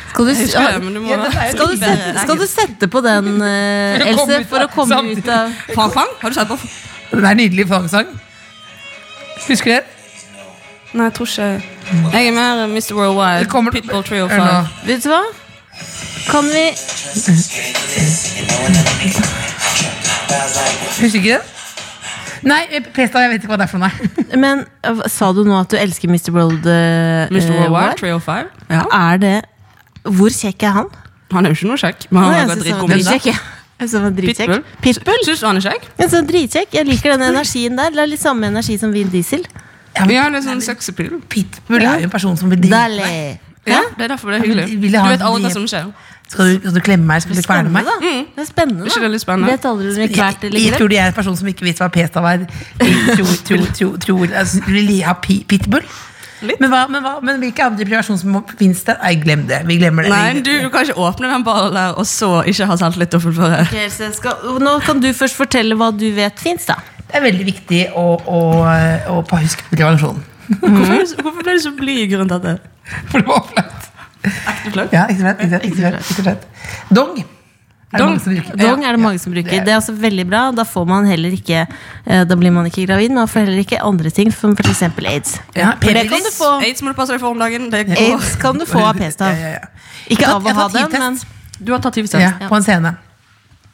Speaker 3: Skal du,
Speaker 4: Jeg husker det, men du må
Speaker 2: Ja, den er jo
Speaker 3: skal du,
Speaker 2: bedre.
Speaker 3: sette, skal du sette på den, eh,
Speaker 2: For å komme
Speaker 3: Else,
Speaker 2: ut
Speaker 3: for å
Speaker 2: av-
Speaker 3: komme
Speaker 2: samtidig.
Speaker 3: ut av
Speaker 4: Fang Fang? Har du sett på
Speaker 2: Den er nydelig fangsang. Husker du det?
Speaker 4: Nei, jeg tror ikke Jeg er mer Mr. Worldwide.
Speaker 2: Det kommer-
Speaker 4: Pitbull oh Trio
Speaker 2: Hør nå.
Speaker 4: 5.
Speaker 3: Vet du hva? Kan vi
Speaker 2: Husker du ikke det? Nei, eh, Pesta, jeg vet ikke hva det er for noe.
Speaker 3: Men eh, hva- sa du nå at du elsker Mr. World? eh,
Speaker 4: Mr.
Speaker 3: eh,
Speaker 4: Worldwide oh
Speaker 3: World?
Speaker 4: Trio 5. Ja.
Speaker 3: Er det Hvor kjekk er han?
Speaker 4: Ah, Han er jo ikke noe kjekk, men han
Speaker 3: Nei,
Speaker 4: har
Speaker 3: jeg
Speaker 4: gått
Speaker 3: synes han var
Speaker 4: dritgod middag.
Speaker 3: dritkjekk, jeg. Jeg synes han var dritkjekk.
Speaker 4: Pitbull.
Speaker 3: Pitbull?
Speaker 4: Syns du han er kjekk?
Speaker 3: Jeg synes han er dritkjekk. Jeg liker den energien der. Det er litt samme energi som Vin Diesel.
Speaker 4: Ja, det er sånn sex appeal.
Speaker 2: Pitbull er jo en person som blir dritt.
Speaker 3: Deilig.
Speaker 4: Ja, det er derfor det
Speaker 2: Ja,
Speaker 4: er
Speaker 2: men
Speaker 4: hyggelig.
Speaker 2: de ville
Speaker 4: Du
Speaker 2: ha
Speaker 4: vet aldri
Speaker 2: de-
Speaker 4: hva som skjer.
Speaker 2: Skal du, skal du klemme meg? Skal du kverne
Speaker 3: Spennende,
Speaker 2: meg?
Speaker 3: da. Det er spennende.
Speaker 4: Ikke det litt spennende?
Speaker 3: Vet aldri om det er
Speaker 2: Jeg,
Speaker 3: kvært eller
Speaker 2: jeg
Speaker 3: grelt.
Speaker 2: tror de er en person som ikke vet hva Pesta var. Tror, tror, tror, tror, altså, vil de ha pi- pitbull?
Speaker 4: Litt.
Speaker 2: Men, hva, men, hva, men hvilke andre privasjoner som finnes det? Nei, glem det. Vi glemmer det.
Speaker 4: Nei, du, du kan ikke åpne den ballen der og så ikke ha selvtillit til å fullføre.
Speaker 3: Ok, Else, jeg skal- Nå kan du først fortelle hva du vet fins, da.
Speaker 2: Det er veldig viktig å, å, å bare huske prevensjon.
Speaker 4: Hvorfor, er du så- hvorfor ble du så blid grunn til dette?
Speaker 2: For det var flaut.
Speaker 4: Ekte flau?
Speaker 2: Ja, ikke sant? Ikke sant, ikke sant, ikke sant. Dong. Er det
Speaker 4: Dong.
Speaker 2: mange som bruker?
Speaker 3: Dong er det mange som bruker. Det er også veldig bra. Da, får man heller ikke, eh, da blir man ikke gravid, men man får heller ikke andre ting, som f.eks. aids.
Speaker 2: Ja,
Speaker 3: For det kan
Speaker 2: p-piller.
Speaker 3: du få.
Speaker 4: Aids må du passe deg for om dagen. Det går.
Speaker 3: Aids kan du få av
Speaker 2: Ja,
Speaker 3: p-stav.
Speaker 2: ja, ja.
Speaker 3: Ikke
Speaker 2: Jeg
Speaker 3: av å
Speaker 2: tar-
Speaker 3: ha
Speaker 2: jeg tar
Speaker 3: den, men
Speaker 2: tidtest.
Speaker 4: Du har tatt hivtest.
Speaker 2: Ja, på en scene.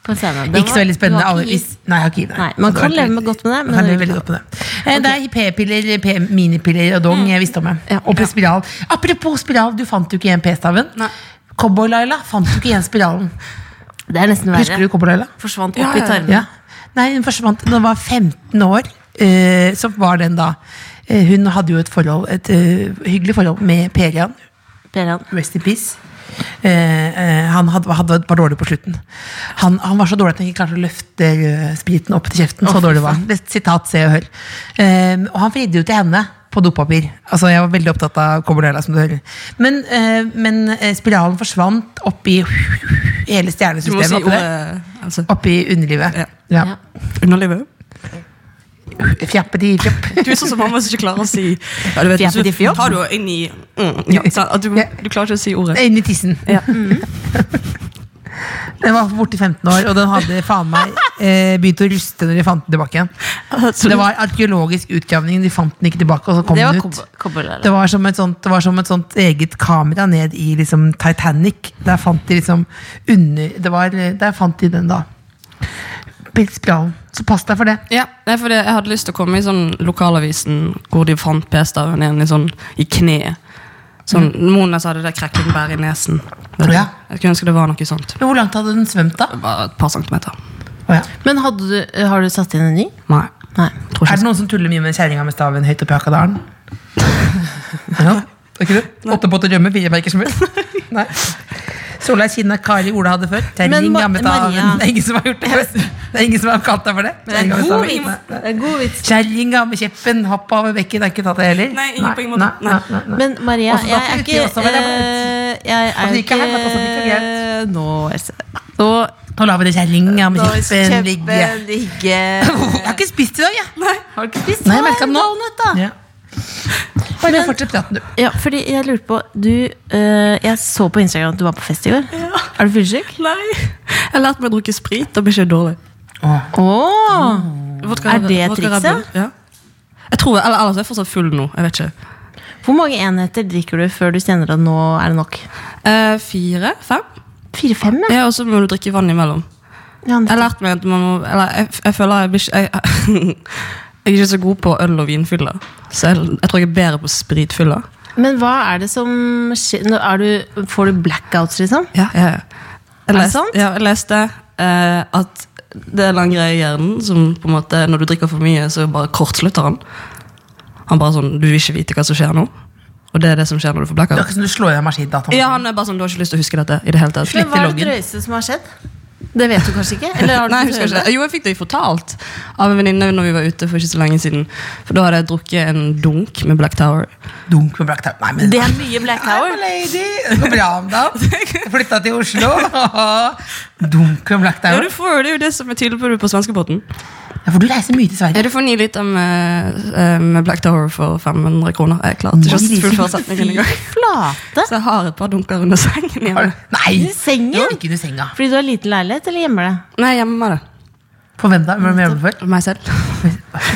Speaker 3: på en scene. Den
Speaker 2: Ikke så
Speaker 3: var-
Speaker 2: veldig
Speaker 3: du
Speaker 2: spennende.
Speaker 3: har
Speaker 2: Alle,
Speaker 3: ikke
Speaker 2: hvis,
Speaker 3: gitt-
Speaker 2: nei, jeg har ikke gitt det.
Speaker 3: Nei, man
Speaker 2: Det
Speaker 3: kan
Speaker 2: hadde vært
Speaker 3: leve med
Speaker 2: veldig-
Speaker 3: godt med det, men
Speaker 2: Man kan
Speaker 3: det er
Speaker 2: leve veldig
Speaker 3: ikke
Speaker 2: godt med det. Eh, Det er p-piller, p- minipiller og dong jeg visste om. det.
Speaker 3: Mm. Ja.
Speaker 2: Og på spiral. Apropos spiral, du fant jo ikke igjen p-staven.
Speaker 4: Nei.
Speaker 2: Cowboy-Laila fant jo ikke igjen spiralen.
Speaker 3: Det er nesten
Speaker 2: Husker du
Speaker 3: verre.
Speaker 2: Cowboy-Laila?
Speaker 3: Forsvant opp
Speaker 4: Ja,
Speaker 3: i
Speaker 4: ja, ja.
Speaker 3: tarmen.
Speaker 2: Ja. Nei, hun forsvant da hun var 15 år. eh, så var den da eh, Hun hadde jo et forhold, et eh, hyggelig forhold med Perian.
Speaker 3: Perian.
Speaker 2: Rest in peace. Eh, eh, han hadde, hadde, var dårlig på slutten. Han, han var så dårlig at han ikke klarte å løfte eh, spriten opp til kjeften. så dårlig var han. Det, er et sitat, se og hør. Eh, og han fridde jo til henne på dopapir. Altså, jeg var veldig opptatt av Cobordella, som du hører. Men, eh, men eh, spiralen forsvant oppi hele
Speaker 4: Du må si
Speaker 2: stjernesystemet. Oppi, der.
Speaker 4: ordet altså,
Speaker 2: oppi underlivet.
Speaker 4: Ja.
Speaker 2: Ja.
Speaker 3: Ja.
Speaker 4: underlivet.
Speaker 2: Fjappeti fjapp.
Speaker 4: Du er sånn som mamma som ikke klarer å si ja, du vet, hvis
Speaker 3: Fjappeti
Speaker 4: du
Speaker 3: fjopp.
Speaker 4: tar du jo inn i mm, ja, sant, at du, du klarer ikke å si ordet.
Speaker 2: Inni tissen.
Speaker 4: Ja.
Speaker 2: Den var borte i 15 år, og den hadde faen meg eh, begynt å ruste når de fant den tilbake igjen.
Speaker 4: Altså,
Speaker 2: det var arkeologisk utgravning, de fant den ikke tilbake, og så kom
Speaker 3: Det var
Speaker 2: den ut.
Speaker 3: kobo- kobolera.
Speaker 2: Det var, som et sånt, det var som et sånt eget kamera ned i liksom Titanic. Der fant de liksom under det var, Der fant de den, da. Pilsbralen. Så pass deg for det.
Speaker 4: Ja, nei, for det, Jeg hadde lyst til å komme i sånn lokalavisen hvor de fant p-staven igjen i, sånn, i kneet. Sånn,
Speaker 3: Mhm.
Speaker 4: Mona sa det der krekken bærer i nesen. Vet du?
Speaker 2: Ja.
Speaker 4: Jeg skulle ønske det var noe sånt.
Speaker 2: Men hvor langt hadde den svømt, da?
Speaker 4: Bare et par centimeter.
Speaker 2: Å, ja.
Speaker 3: Men hadde du, har du satt inn en ny?
Speaker 4: Nei.
Speaker 3: Nei.
Speaker 4: Tror
Speaker 2: Er
Speaker 4: ikke.
Speaker 2: det noen som tuller mye med kjerringa med staven høyt oppi Hakadalen? ja, er ikke det? Åtte potter rømme, fire merker smør. Nei. Solveig Kinna Kari Ola hadde før. Terning
Speaker 3: Ma-
Speaker 2: jammet av
Speaker 3: Maria-
Speaker 2: en- ingen som har gjort det før. Det er ingen som har kalt deg for det?
Speaker 3: det er en god
Speaker 2: Nei,
Speaker 3: vits.
Speaker 2: nei.
Speaker 3: Det er en god vits.
Speaker 2: Kjerringa med kjeppen, hoppa over bekken, det er ikke tatt det heller?
Speaker 4: Nei, ingen på ingen måte.
Speaker 2: Nei, nei, nei.
Speaker 3: Men Maria,
Speaker 2: Også
Speaker 3: jeg
Speaker 2: datt
Speaker 3: er
Speaker 2: uti,
Speaker 3: ikke
Speaker 2: også var det
Speaker 3: eh, Jeg er
Speaker 2: Altså, ikke
Speaker 3: jo ikke
Speaker 2: her, men altså, ikke greit.
Speaker 3: Nå Else. Nå
Speaker 2: Nå lar vi det kjerringa med kjeppen
Speaker 3: kjempe-
Speaker 2: ligge.
Speaker 3: ligge.
Speaker 2: Jeg har ikke spist i dag, jeg.
Speaker 4: Nei.
Speaker 3: Har du ikke spist
Speaker 2: Nei, jeg merket den nå.
Speaker 3: valnøtt, da?
Speaker 2: Ja. Bare fortsett praten, du.
Speaker 3: Ja, fordi jeg lurte på du, eh, Jeg så på Instagram at du var på fest i går. Er du fyllesyk?
Speaker 4: Nei. Jeg lærte meg å drikke sprit. Da blir ikke det dårlig.
Speaker 3: Oh.
Speaker 4: Vodka,
Speaker 3: Er det
Speaker 4: vodka
Speaker 3: trikset?
Speaker 4: Red Bull, Ja. Jeg tror, eller Ellers er jeg fortsatt full nå. Jeg vet ikke.
Speaker 3: Hvor mange enheter drikker du før du kjenner at nå er det nok?
Speaker 4: Eh, fire? Fem?
Speaker 3: Fire-fem, ja.
Speaker 4: Ja, Og så må du drikke vann imellom.
Speaker 3: Ja,
Speaker 4: Jeg lærte meg at man må Eller jeg, jeg føler jeg blir ikke jeg, jeg er ikke så god på øl- og vinfyller. Så jeg, jeg tror jeg er bedre på spritfyller.
Speaker 3: Men hva er det som skjer? Nå Er du, får du blackouts, liksom?
Speaker 4: Ja, ja, ja. Jeg
Speaker 3: det
Speaker 4: leste,
Speaker 3: sant?
Speaker 4: Ja, jeg leste eh, at det er en lang greie i hjernen som på en måte, når du drikker for mye, så bare kortslutter han. Han bare sånn, du vil ikke vite hva som skjer nå. Og det er det som skjer når du får
Speaker 2: Det er
Speaker 4: blackout.
Speaker 2: ikke som du slår i deg maskindataen.
Speaker 4: Ja, han er bare sånn, du har ikke lyst til å huske dette i det hele tatt.
Speaker 3: Men hva er det
Speaker 2: loggen.
Speaker 3: drøyeste som har skjedd? Det vet du kanskje ikke? Eller har du
Speaker 4: Nei, jeg
Speaker 3: fått
Speaker 4: husker
Speaker 3: høre
Speaker 4: ikke det. Jo, jeg fikk det fortalt av en venninne når vi var ute for ikke så lenge siden. For da hadde jeg drukket en dunk med Black Tower.
Speaker 2: Dunk med black tau. Nei, men
Speaker 3: Det er mye Black
Speaker 2: Hei,
Speaker 3: Tower.
Speaker 2: lady. Det går bra om dagen. Flytta til Oslo. Dunk med black
Speaker 4: Ja,
Speaker 2: tau.
Speaker 4: du får, det er jo det som er tydelig på det på svenskebåten.
Speaker 2: Ja, for du reiser mye til
Speaker 4: Ja,
Speaker 2: Sverige.
Speaker 4: du får ni liter med, eh, med Black Tower for 500 kroner. Jeg klarte ikke å fullføre setningen engang.
Speaker 3: Flate.
Speaker 4: Så jeg har et par dunker under sengen
Speaker 2: Har
Speaker 4: hjemme.
Speaker 2: du- Nei!
Speaker 3: I sengen?
Speaker 2: Du har ikke du senga.
Speaker 3: Fordi du har liten leilighet, eller gjemmer det?
Speaker 4: Nei, hjemme med det.
Speaker 2: For hvem da? Hvem gjør du for?
Speaker 4: Meg selv.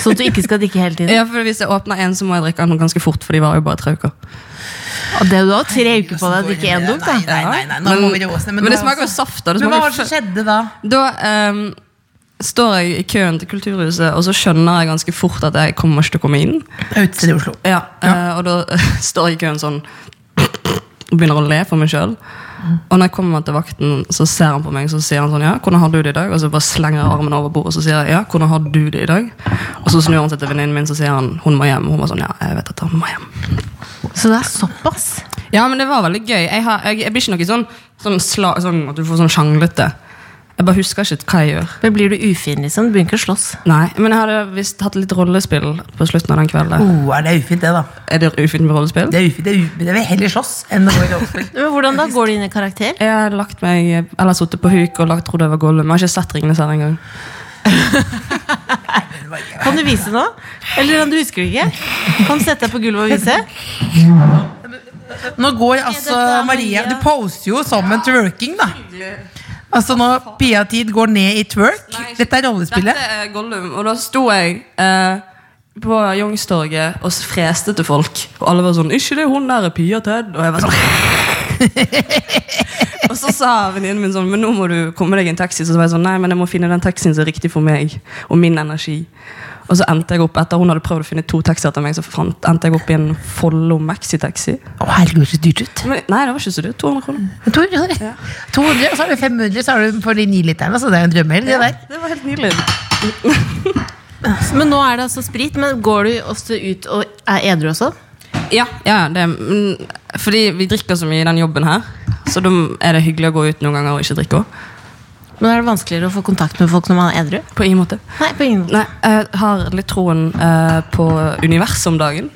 Speaker 3: Sånn at du ikke skal drikke hele tiden.
Speaker 4: Ja, for Hvis jeg åpner en, så må jeg drikke den ganske fort, for de varer jo bare tre uker.
Speaker 3: Og det, du har tre uker på deg å drikke én dunk,
Speaker 2: Nei,
Speaker 3: da.
Speaker 2: nei, nei, nei, nå
Speaker 4: Men-
Speaker 2: må vi roe oss ned.
Speaker 4: men det
Speaker 2: da-
Speaker 4: smaker jo saft, da. Det
Speaker 2: Men hva
Speaker 4: smaker
Speaker 2: var det som skjedde da?
Speaker 4: Da ehm, står jeg i køen til Kulturhuset, og så skjønner jeg ganske fort at jeg kommer ikke til å komme inn.
Speaker 2: Det er Utested i Oslo.
Speaker 4: Ja, eh, og da står jeg i køen sånn og begynner å le for meg sjøl. Og når jeg kommer til vakten, så ser han på meg så sier han sånn, ja, 'Hvordan har du det i dag?' Og så bare slenger jeg armen over bordet og så sier jeg, 'Ja, hvordan har du det i dag?' Og så snur han seg til venninnen min så sier han 'Hun må hjem'. Og hun var sånn, ja, jeg vet at hun må hjem.
Speaker 3: Så det er såpass?
Speaker 4: Ja, men det var veldig gøy. Jeg, har, jeg, jeg blir ikke noe sånn, sånn, sla, sånn at du får sånn sjanglete. Jeg bare husker ikke hva jeg gjør.
Speaker 3: Men blir du ufin, liksom? Du begynner ikke å slåss.
Speaker 4: Nei, Men jeg hadde visst hatt litt rollespill på slutten av den kvelden.
Speaker 2: Oh, er det ufint, det, da?
Speaker 4: Er det ufint med rollespill?
Speaker 2: Det er ufint. Det er ufint. Jeg vil heller slåss enn å gå i rollespill.
Speaker 3: Men hvordan da? Går du inn i karakter?
Speaker 4: Jeg har lagt meg, eller sittet på huk og lagt, trodde jeg var Gollum. Jeg har ikke sett Ringenes herre engang.
Speaker 3: Kan du vise nå? Eller om du husker det ikke? Kan du sette deg på gulvet og vise?
Speaker 2: Nå går altså
Speaker 3: dette er
Speaker 2: Maria
Speaker 3: Maria.
Speaker 2: Du poser jo som en twerking, da. Altså når Pia Tid går ned i twerk. Dette er rollespillet.
Speaker 4: Dette er Gollum, og da sto jeg eh, på Youngstorget og s- freste til folk. Og alle var sånn 'Ikke det hun der er Pia Ted?' Og jeg var sånn Og så sa venninnen min sånn 'Men nå må du komme deg i en taxi.' Så var jeg sånn 'Nei, men jeg må finne den taxien som er riktig for meg og min energi'. Og så endte jeg opp etter hun hadde prøvd å finne to taxier til meg, så fant, endte jeg opp i en Follo maxitaxi.
Speaker 2: Å, herregud, så dyrt ut.
Speaker 4: Men- Nei, det var ikke så dyrt. 200 kroner.
Speaker 2: 200, 200, og så har du 500, så har du for de 9 literne. Så det er jo en drømmehelg, det der.
Speaker 4: Det var helt nydelig.
Speaker 3: Men nå er det altså sprit. Men går du også ut og sånn? er edru også?
Speaker 4: Ja, ja det, mm, fordi vi drikker så mye i den jobben her. Så da er det hyggelig å gå ut noen ganger og ikke drikke òg.
Speaker 3: Men er det vanskeligere å få kontakt med folk når man er edru?
Speaker 4: På ingen måte.
Speaker 3: Nei, på ingen måte.
Speaker 4: Nei, jeg har litt troen eh, på universet om dagen.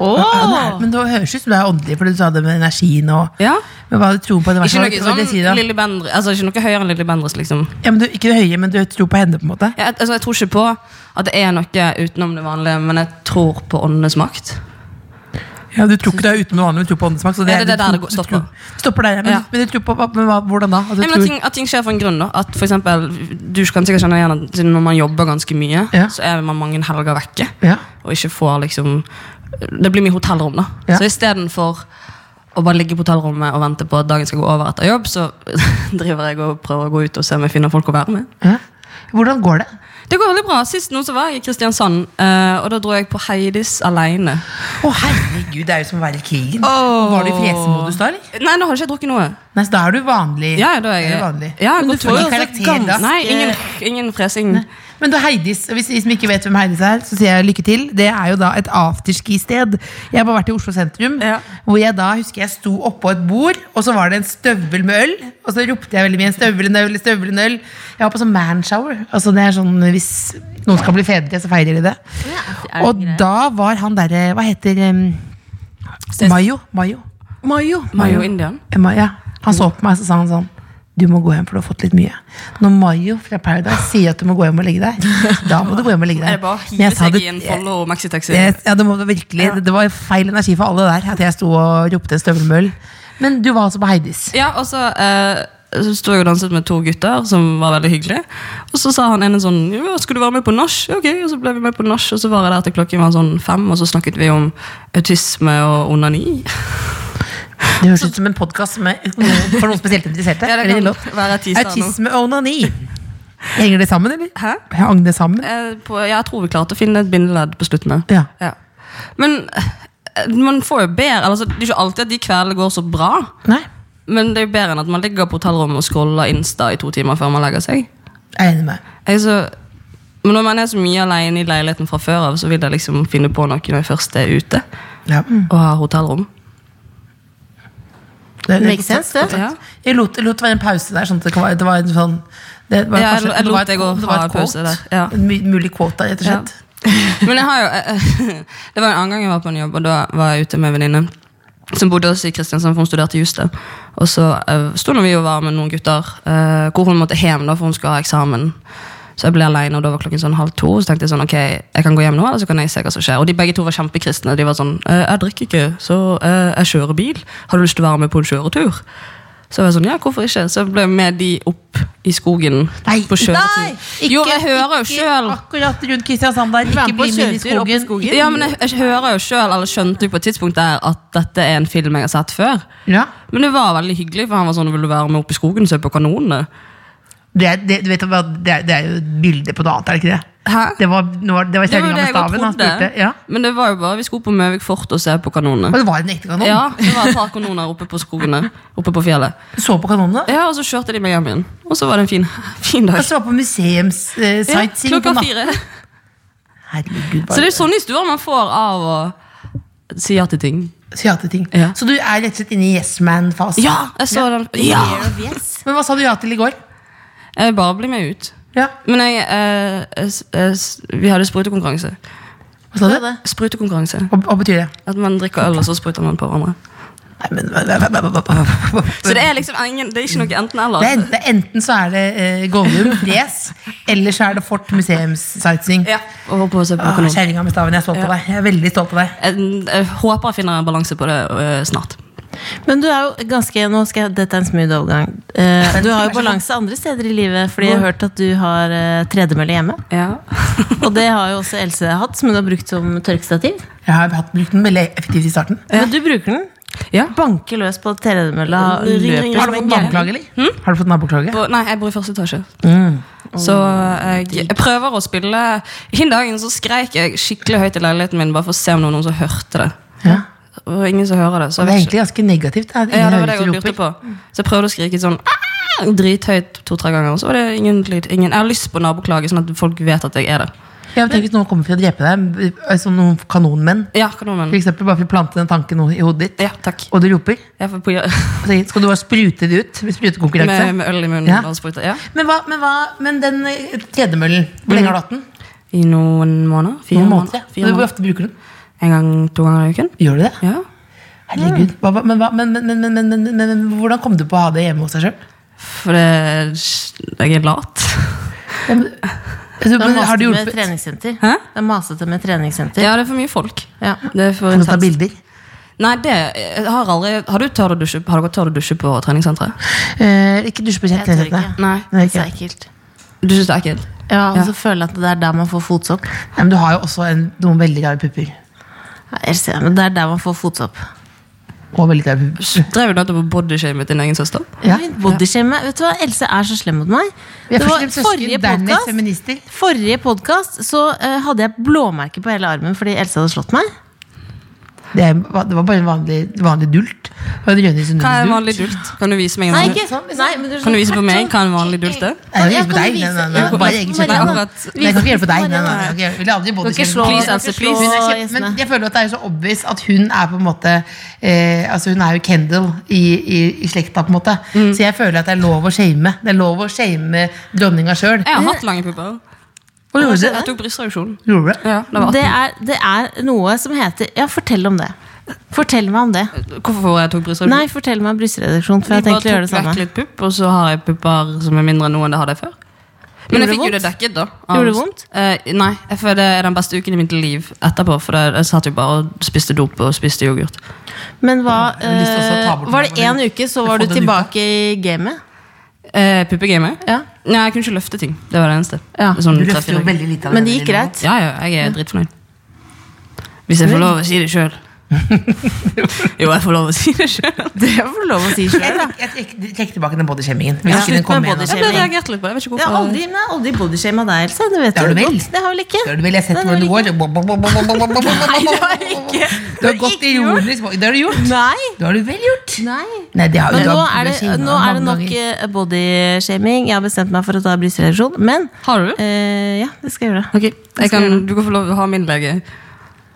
Speaker 2: Ja, det er- Men det høres ut som du er åndelig, for du sa det med energien og
Speaker 4: Ja.
Speaker 2: Men hva du tror på. Det,
Speaker 4: Ikke
Speaker 2: verste,
Speaker 4: noe,
Speaker 2: hva det sier, da?
Speaker 4: sånn Lilly Bendriss- altså, ikke noe høyere enn Lilly Bendriss, liksom.
Speaker 2: ja, men du, ikke det høye, men du tror på henne, på en måte?
Speaker 4: Jeg, altså, jeg tror ikke på at det er noe utenom det vanlige, men jeg tror på åndenes makt.
Speaker 2: Ja, Du tror ikke det er utenom det vanlige, men du tror på åndesmak. Så det,
Speaker 4: Ja, det er
Speaker 2: du-
Speaker 4: der det går-
Speaker 2: du
Speaker 4: stopper.
Speaker 2: tror- Stopper der, ja. Men,
Speaker 4: Ja.
Speaker 2: men du tror på hva- men hva, hvordan da? At du
Speaker 4: Nei, men
Speaker 2: tror,
Speaker 4: at, ting, at ting skjer for en grunn. da At for eksempel, Du kan sikkert kjenne igjen at når man jobber ganske mye,
Speaker 2: Ja.
Speaker 4: så er man mange helger vekke.
Speaker 2: Ja.
Speaker 4: Og ikke får liksom Det blir mye hotellrom, da.
Speaker 2: Ja.
Speaker 4: Så istedenfor å bare ligge på hotellrommet og vente på at dagen skal gå over etter jobb, så driver jeg og prøver å gå ut og se om jeg finner folk å være med.
Speaker 2: ja. Hvordan går det?
Speaker 4: Det går veldig bra. Sist nå så var jeg i Kristiansand, eh, og da dro jeg på Heidis aleine.
Speaker 2: Å, herregud, det er jo som å være i krigen.
Speaker 4: Åh.
Speaker 2: Var du i fjesemodus da, eller?
Speaker 4: Nei, nå har jeg ikke drukket noe.
Speaker 2: Nei, så da er du vanlig.
Speaker 4: Ja, da er jeg,
Speaker 2: er du vanlig.
Speaker 4: Ja, jeg
Speaker 2: men
Speaker 4: går
Speaker 2: du får
Speaker 4: tur.
Speaker 2: jo karakter da.
Speaker 4: Nei, ingen, ingen fresing.
Speaker 2: Men du, Heidis, og hvis de som ikke vet hvem Heidis er, så sier jeg lykke til. Det er jo da et afterski-sted. Jeg har bare vært i Oslo sentrum,
Speaker 4: Ja.
Speaker 2: hvor jeg da husker jeg sto oppå et bord, og så var det en støvel med øl, og så ropte jeg veldig mye en støvel, en øl, en støvel, en øl. Jeg var på sånn manshower. Altså det er sånn hvis noen skal bli fedre, så feirer de det.
Speaker 3: er det
Speaker 2: og
Speaker 3: greit?
Speaker 2: da var han derre, hva heter um, Mayo. Mayo. Mayo.
Speaker 4: Mayo Indian.
Speaker 2: Ma- Ja, han så på meg og sa han sånn Du må gå hjem, for du har fått litt mye. Når Mayo fra Paradise sier at du må gå hjem og legge deg, da må du gå hjem og legge deg.
Speaker 4: Er det bare å
Speaker 2: Men
Speaker 4: hive
Speaker 2: jeg sa
Speaker 4: seg
Speaker 2: det-
Speaker 4: i en Follo maxitaxi?
Speaker 2: jeg- Ja, det må du virkelig. Det- Det var feil energi for alle der at jeg sto og ropte støvelmøll. Men du var altså på Heidis.
Speaker 4: Ja, og så eh, så sto jeg og danset med to gutter som var veldig hyggelige. Og så sa han ene sånn ja, 'Skal du være med på nach?' Ja, Ok, og så ble vi med på nach, og så var jeg der til klokken var sånn fem, og så snakket vi om autisme og onani.
Speaker 2: Det høres ut som en podkast for noen spesielt interesserte.
Speaker 4: Ja, det
Speaker 2: Eller
Speaker 4: kan
Speaker 2: lov.
Speaker 4: være et teaser nå.
Speaker 2: Autisme og onani. Henger det sammen, eller?
Speaker 4: Hæ?
Speaker 2: Hang det sammen?
Speaker 4: Eh, på, ja, jeg tror vi klarte å finne et bindeledd på slutten. her.
Speaker 2: Ja.
Speaker 4: Ja. Men eh, man får jo bedre altså, Det er ikke alltid at de kveldene går så bra,
Speaker 2: Nei?
Speaker 4: men det er jo bedre enn at man ligger på hotellrommet og scroller Insta i to timer før man legger seg.
Speaker 2: Jeg er enig med deg.
Speaker 4: Jeg så, Altså, men når man er så mye alene i leiligheten fra før av, så vil jeg liksom finne på noe når jeg først er ute
Speaker 2: Ja.
Speaker 4: og har hotellrom.
Speaker 2: Det,
Speaker 3: Makes sense, det.
Speaker 4: Ja.
Speaker 2: Jeg lot, lot det være en pause der, sånn at det, kan være, det var en sånn det var
Speaker 4: Ja, jeg
Speaker 2: kanskje-
Speaker 4: lo- jeg
Speaker 2: det var
Speaker 4: lot
Speaker 2: et-
Speaker 4: det gå
Speaker 2: det var
Speaker 4: fra
Speaker 2: et
Speaker 4: pause
Speaker 2: quote.
Speaker 4: der, ja.
Speaker 2: En mu- mulig quote der, rett og slett.
Speaker 4: Men jeg har jo eh, Det var en annen gang jeg var på en jobb, og da var jeg ute med en venninne som bodde også i Kristiansand, for hun studerte jus. der. Og så uh, sto nå vi og var med noen gutter, eh, hvor hun måtte hjem da, for hun skulle ha eksamen. Så jeg ble alene, og da var klokken sånn halv to. Så tenkte jeg sånn, ok, jeg kan gå hjem nå, eller så kan jeg se hva som skjer. Og de begge to var kjempekristne. De var sånn, eh, jeg drikker ikke, så eh, jeg kjører bil. Har du lyst til å være med på en kjøretur? Så jeg var sånn, ja, hvorfor ikke? Så jeg ble med de opp i skogen
Speaker 2: Nei,
Speaker 4: på kjøretur.
Speaker 2: nei, ikke-
Speaker 4: jo, jeg hører jo
Speaker 2: ikke
Speaker 4: selv.
Speaker 2: Akkurat rundt Kristiansand der.
Speaker 3: Vær
Speaker 2: Ikke
Speaker 3: med på
Speaker 2: bli med inn i
Speaker 3: kjøretur opp i
Speaker 2: skogen.
Speaker 3: skogen.
Speaker 4: Ja, men jeg, jeg hører jo selv, eller skjønte jo på et tidspunkt der at dette er en film jeg har sett før.
Speaker 2: Ja.
Speaker 4: Men det var veldig hyggelig, for han var sånn, vil du være med opp i skogen og se på kanonene?
Speaker 2: Det, er- det, du vet, hva, det, er, det er jo et bilde på noe annet, er det ikke det?
Speaker 4: Hæ?
Speaker 2: Det var, nå var- det var
Speaker 4: Det var
Speaker 2: kjerringa
Speaker 4: jo det
Speaker 2: med
Speaker 4: jeg godt
Speaker 2: staven han
Speaker 4: trodde.
Speaker 2: spurte. Ja.
Speaker 4: Men det var jo bare, vi skulle på Møvik Fort og se på
Speaker 2: Og
Speaker 4: kanonene.
Speaker 2: det var en ekte kanon.
Speaker 4: Ja, det var et par kanoner oppe på skogene, oppe på fjellet.
Speaker 2: Du så på kanonene.
Speaker 4: Ja, og så kjørte de meg hjem igjen. Og så var det en fin, fin dag.
Speaker 2: Og så var på museums-sightseeing.
Speaker 4: Ja,
Speaker 2: Altså, på
Speaker 4: klokka
Speaker 2: natten.
Speaker 4: fire.
Speaker 2: Herregud,
Speaker 4: Så
Speaker 2: bare
Speaker 4: det er sånne historier man får av å si ja til ting.
Speaker 2: så ja til ting.
Speaker 4: Ja.
Speaker 2: Så du er rett og slett inne i yes man-fasen.
Speaker 4: Ja, jeg så den. Ja!
Speaker 2: Men hva sa du ja til i går?
Speaker 4: Jeg bare blir med ut.
Speaker 2: Ja.
Speaker 4: Men jeg, eh, s- eh, s- vi hadde sprutekonkurranse.
Speaker 2: Hva sa du?
Speaker 4: Sprutekonkurranse.
Speaker 2: Hva, hva betyr det?
Speaker 4: At man drikker øl, og så spruter man på hverandre.
Speaker 2: Nei, men Så
Speaker 4: Så det er liksom ingen, det er ikke noe enten-eller.
Speaker 2: det er enten, enten så er det eh, Gollum, Fres, eller så er det Fort museums-sightseeing.
Speaker 4: Ja, og håper å se på
Speaker 2: Ah,
Speaker 4: kanon.
Speaker 2: Kjerringa med staven, jeg er stolt av deg. Jeg er veldig stolt av deg.
Speaker 4: Jeg, jeg håper jeg finner en balanse på det eh, snart.
Speaker 3: Men du er jo ganske Nå skal jeg, Dette er en smooth overgang. Eh, du har jo balanse andre steder i livet, fordi jeg har hørt at du har eh, tredemølle hjemme.
Speaker 4: Ja.
Speaker 3: Og det har jo også Else hatt, som hun har brukt som tørkestativ.
Speaker 2: Jeg har hatt brukt den veldig effektivt i starten.
Speaker 3: Men du bruker den.
Speaker 4: Ja.
Speaker 3: Banker løs på tredemølla. og
Speaker 4: Ring, ring,
Speaker 3: løper.
Speaker 4: ring.
Speaker 2: Har du fått naboklage, eller? Har du fått naboklage?
Speaker 4: På- Nei, jeg bor i første etasje.
Speaker 2: Mm.
Speaker 4: Så eh, jeg, jeg prøver å spille Den dagen så skreik jeg skikkelig høyt i leiligheten min bare for å se om det var noen som hørte det.
Speaker 2: Ja.
Speaker 4: Og ingen som hører det. Så
Speaker 2: Det
Speaker 4: jeg
Speaker 2: er
Speaker 4: vet ikke-
Speaker 2: egentlig ganske negativt. at ingen
Speaker 4: Ja, det var det
Speaker 2: hører
Speaker 4: jeg
Speaker 2: hvis du
Speaker 4: lurte
Speaker 2: roper.
Speaker 4: på. Så jeg prøvde å skrike sånn «Ah!» drithøyt to-tre ganger, og så var det ingen lyd. Ingen. Jeg har lyst på naboklage, sånn at folk vet at jeg er der.
Speaker 2: Ja, men tenk hvis noen kommer for å drepe deg, altså noen kanonmenn.
Speaker 4: Ja, kanonen.
Speaker 2: For eksempel bare for å plante den tanken i hodet ditt,
Speaker 4: Ja, takk.
Speaker 2: og du roper.
Speaker 4: Jeg får på,
Speaker 2: og sier, Skal du bare sprute det ut? Sprutekonkurranse?
Speaker 4: med, med øl i munnen
Speaker 2: Ja.
Speaker 4: og sprute. Ja.
Speaker 2: Men, hva, men, hva, men den eh, tredemøllen, hvor lenge har du hatt den?
Speaker 4: I noen måneder. Fire
Speaker 2: Noen
Speaker 4: måneder.
Speaker 2: måneder? ja.
Speaker 4: Fire
Speaker 2: Hvor
Speaker 4: måneder.
Speaker 2: ofte bruker du den?
Speaker 4: En gang, to ganger i uken.
Speaker 2: Gjør du det?
Speaker 4: Ja.
Speaker 2: Herregud. Hva, hva- men, hva- men, men, men, men, men, men, men, men hvordan kom du på å ha det hjemme hos deg sjøl?
Speaker 4: For det, jeg er lat.
Speaker 2: Altså,
Speaker 3: Det
Speaker 2: men
Speaker 3: er
Speaker 2: har du
Speaker 3: masete med
Speaker 2: hjulpet Kan
Speaker 3: treningssenter.
Speaker 4: Hæ?
Speaker 3: Det er masete med treningssenter.
Speaker 4: Ja, det er for mye folk.
Speaker 3: Ja.
Speaker 4: Det er for
Speaker 2: du ta
Speaker 4: intenst.
Speaker 2: bilder?
Speaker 4: Nei, det jeg har aldri Har du tørt å dusje, har dere tørt å dusje på treningssenteret?
Speaker 2: Eh, ikke dusj på
Speaker 3: Jeg tør ikke.
Speaker 2: kjentene.
Speaker 4: Nei.
Speaker 2: Nei,
Speaker 3: Det
Speaker 2: ikke.
Speaker 3: er ekkelt.
Speaker 4: Du syns det er ekkelt?
Speaker 3: Ja, og så føler jeg at det er der man får fotsopp.
Speaker 2: Nei, Men du har jo også en, noen veldig rare pupper.
Speaker 3: Nei, Else, men det er der man får fotsopp.
Speaker 2: Og veldig rare pupper.
Speaker 4: Drev du nettopp og bodyshamet din egen søster?
Speaker 2: Ja.
Speaker 3: Bodyshame. Vet du hva, Else er så slem mot meg.
Speaker 2: Vi er
Speaker 3: Det var
Speaker 2: først og fremst søsken, dernest
Speaker 3: podcast-
Speaker 2: feminister.
Speaker 3: Forrige podkast så eh, hadde jeg blåmerke på hele armen fordi Else hadde slått meg.
Speaker 2: Det, er- det var bare en vanlig, vanlig dult. Hva er Rønnis
Speaker 4: Hva er en
Speaker 2: underdult?
Speaker 4: vanlig dult? Kan du vise meg en
Speaker 3: Nei,
Speaker 4: vanlig
Speaker 3: ikke sånn. Nei, men det er
Speaker 4: Kan du
Speaker 3: sånn
Speaker 4: vise på meg
Speaker 3: tvert
Speaker 4: hva
Speaker 3: sånn.
Speaker 4: en vanlig dult
Speaker 2: Nei,
Speaker 4: er?
Speaker 2: liksom. jeg
Speaker 3: Ja,
Speaker 2: kan
Speaker 3: kan
Speaker 2: ikke
Speaker 3: du
Speaker 2: hjelpe
Speaker 3: vise-
Speaker 2: deg. Nei, nei, nei.
Speaker 3: Ja,
Speaker 2: Bare eget kjøtt.
Speaker 3: Marianne,
Speaker 4: Nei, akkurat-
Speaker 2: Nei, jeg kan ikke hjelpe deg. Nei, nei, nei.
Speaker 3: Marianne.
Speaker 2: ok, Jeg ville aldri bodd i
Speaker 3: Kan ikke
Speaker 2: Kjønn.
Speaker 3: slå-
Speaker 4: Please,
Speaker 3: kan
Speaker 4: Else,
Speaker 3: ikke slå
Speaker 4: please.
Speaker 2: Hun er kjempe,
Speaker 3: gjestene.
Speaker 2: men jeg føler at det er jo så obvious at hun er på en måte eh, Altså hun er jo Kendal i, i, i slekta, på en måte. Så jeg føler at det er lov å shame. Det er lov å shame dronninga sjøl.
Speaker 4: Jeg har hatt lange pupper.
Speaker 2: Hva gjorde
Speaker 4: Jeg
Speaker 2: du?
Speaker 4: tok brystreduksjon.
Speaker 2: Gjorde du?
Speaker 4: Ja, det var
Speaker 3: Det er, det er noe som heter Ja, fortell om det. Fortell meg om det.
Speaker 4: Hvorfor jeg tok brystreduksjon?
Speaker 3: Nei, fortell meg om brystreduksjon, for jeg
Speaker 4: bare
Speaker 3: tenkte å gjøre det
Speaker 4: tok
Speaker 3: samme.
Speaker 4: vekk litt pupp, og så har jeg pupper som er mindre nå enn det hadde jeg før.
Speaker 3: Gjorde
Speaker 4: Men jeg
Speaker 3: det
Speaker 4: fikk jo det
Speaker 3: vondt?
Speaker 4: dekket, da.
Speaker 3: Gjorde det vondt?
Speaker 4: Eh, nei, jeg føler det er den beste uken i mitt liv etterpå. For det, jeg satt jo bare og spiste dop og spiste yoghurt.
Speaker 3: Men hva,
Speaker 2: Jeg har lyst til å ta bort
Speaker 3: eh, var det
Speaker 2: den,
Speaker 3: én
Speaker 2: men-
Speaker 3: uke, så
Speaker 2: Jeg får
Speaker 3: var du
Speaker 2: den uka.
Speaker 3: tilbake i gamet?
Speaker 4: Uh, Puppegamet?
Speaker 3: Ja.
Speaker 4: Nei, jeg kunne ikke løfte ting. Det var det eneste.
Speaker 3: Ja.
Speaker 4: Det er sånn
Speaker 2: Du
Speaker 4: tre-fire
Speaker 2: løfter jo
Speaker 4: uker.
Speaker 2: veldig lite av
Speaker 3: Men det
Speaker 2: denne
Speaker 3: gikk
Speaker 2: lille nå.
Speaker 3: greit?
Speaker 4: Ja, ja, jeg er dritfornøyd. Hvis jeg får lov å si det sjøl. jo, jeg får lov å si det sjøl.
Speaker 3: Det får du lov å si
Speaker 2: Jeg,
Speaker 3: sjøl, da.
Speaker 2: trekk- jeg, trekk- trekk tilbake den bodyshamingen. Hvis
Speaker 3: Ja.
Speaker 2: ikke den
Speaker 3: Slutt
Speaker 2: kommer
Speaker 3: med
Speaker 2: igjen. altså.
Speaker 4: Jeg ble reagert litt på det. Jeg vet ikke
Speaker 3: Jeg har
Speaker 4: hvorfor.
Speaker 3: aldri, men jeg har aldri bodyshama deg, Else. Det vet
Speaker 2: Det har
Speaker 3: du
Speaker 2: du vel.
Speaker 3: godt. Det har vel ikke?
Speaker 2: Det har du vel jeg har sett
Speaker 3: Nei, det
Speaker 2: hvordan du
Speaker 3: har
Speaker 2: går.
Speaker 3: Nei, det har
Speaker 2: Du
Speaker 3: jeg ikke.
Speaker 2: har gått
Speaker 3: ikke gjort.
Speaker 2: ironisk Det har du gjort.
Speaker 3: Nei.
Speaker 2: Det har du vel gjort.
Speaker 3: Nei.
Speaker 2: Nei, det har,
Speaker 3: Men
Speaker 2: det
Speaker 3: nå
Speaker 2: har,
Speaker 3: er
Speaker 2: du
Speaker 3: det,
Speaker 2: har shamet
Speaker 3: nå er det
Speaker 2: mange
Speaker 3: nok
Speaker 2: ganger.
Speaker 3: eh, bodyshaming. Jeg har bestemt meg for å ta brystreduksjon, men
Speaker 4: Har du?
Speaker 3: eh, Ja, det skal jeg gjøre.
Speaker 4: Ok, jeg kan, du kan få lov å ha min lege.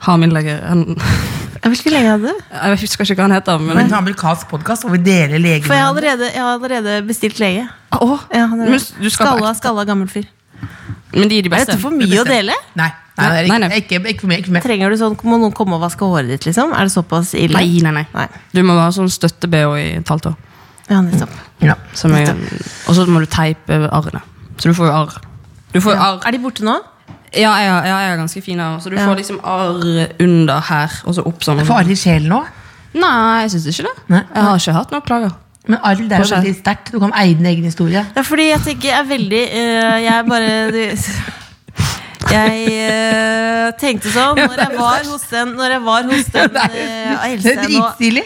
Speaker 4: Ha min lege. Han,
Speaker 3: Jeg vet ikke hvor lenge jeg hadde.
Speaker 4: jeg husker ikke hva han heter,
Speaker 2: Men
Speaker 4: men
Speaker 2: en amerikansk podkast hvor vi deler leger
Speaker 3: For jeg har allerede, jeg har allerede bestilt lege.
Speaker 4: Åh,
Speaker 3: Ja, han er
Speaker 4: men du skal på
Speaker 3: skalla, skalla gammel fyr.
Speaker 4: Men de er de
Speaker 3: Er
Speaker 4: beste.
Speaker 3: dette for mye å dele?
Speaker 2: Nei, nei, nei,
Speaker 4: Nei, nei.
Speaker 2: Ikke, ikke, ikke for meg. Ikke for meg.
Speaker 3: Trenger du sånn, Må noen komme og vaske håret ditt? liksom? Er det såpass ille?
Speaker 4: Nei, nei, nei.
Speaker 3: Nei.
Speaker 4: Du må ha sånn støtte-BH i et halvt år.
Speaker 3: Ja, nettopp.
Speaker 2: Ja.
Speaker 4: som er- Og så må du teipe arrene. Så du får jo arr. Du får jo
Speaker 3: Ja.
Speaker 4: arr.
Speaker 3: Er de borte nå?
Speaker 4: Ja, jeg har- ja, jeg har ganske fine arr. Så du
Speaker 3: Ja.
Speaker 4: får liksom arr under her, og så opp sånn.
Speaker 2: For arr i sjelen òg.
Speaker 4: Nei, jeg syns ikke det.
Speaker 2: Nei.
Speaker 4: Jeg har ikke hatt noen klager.
Speaker 2: Men arr det er jo
Speaker 4: Kanskje.
Speaker 2: veldig sterkt. Du kan eie din egen historie.
Speaker 3: Ja, fordi jeg tenker jeg er veldig eh, Jeg er bare du- Jeg eh, tenkte sånn når jeg var hos den Når jeg var hos den eh,
Speaker 2: Det
Speaker 3: Else
Speaker 2: er
Speaker 3: nå
Speaker 2: dritstilig.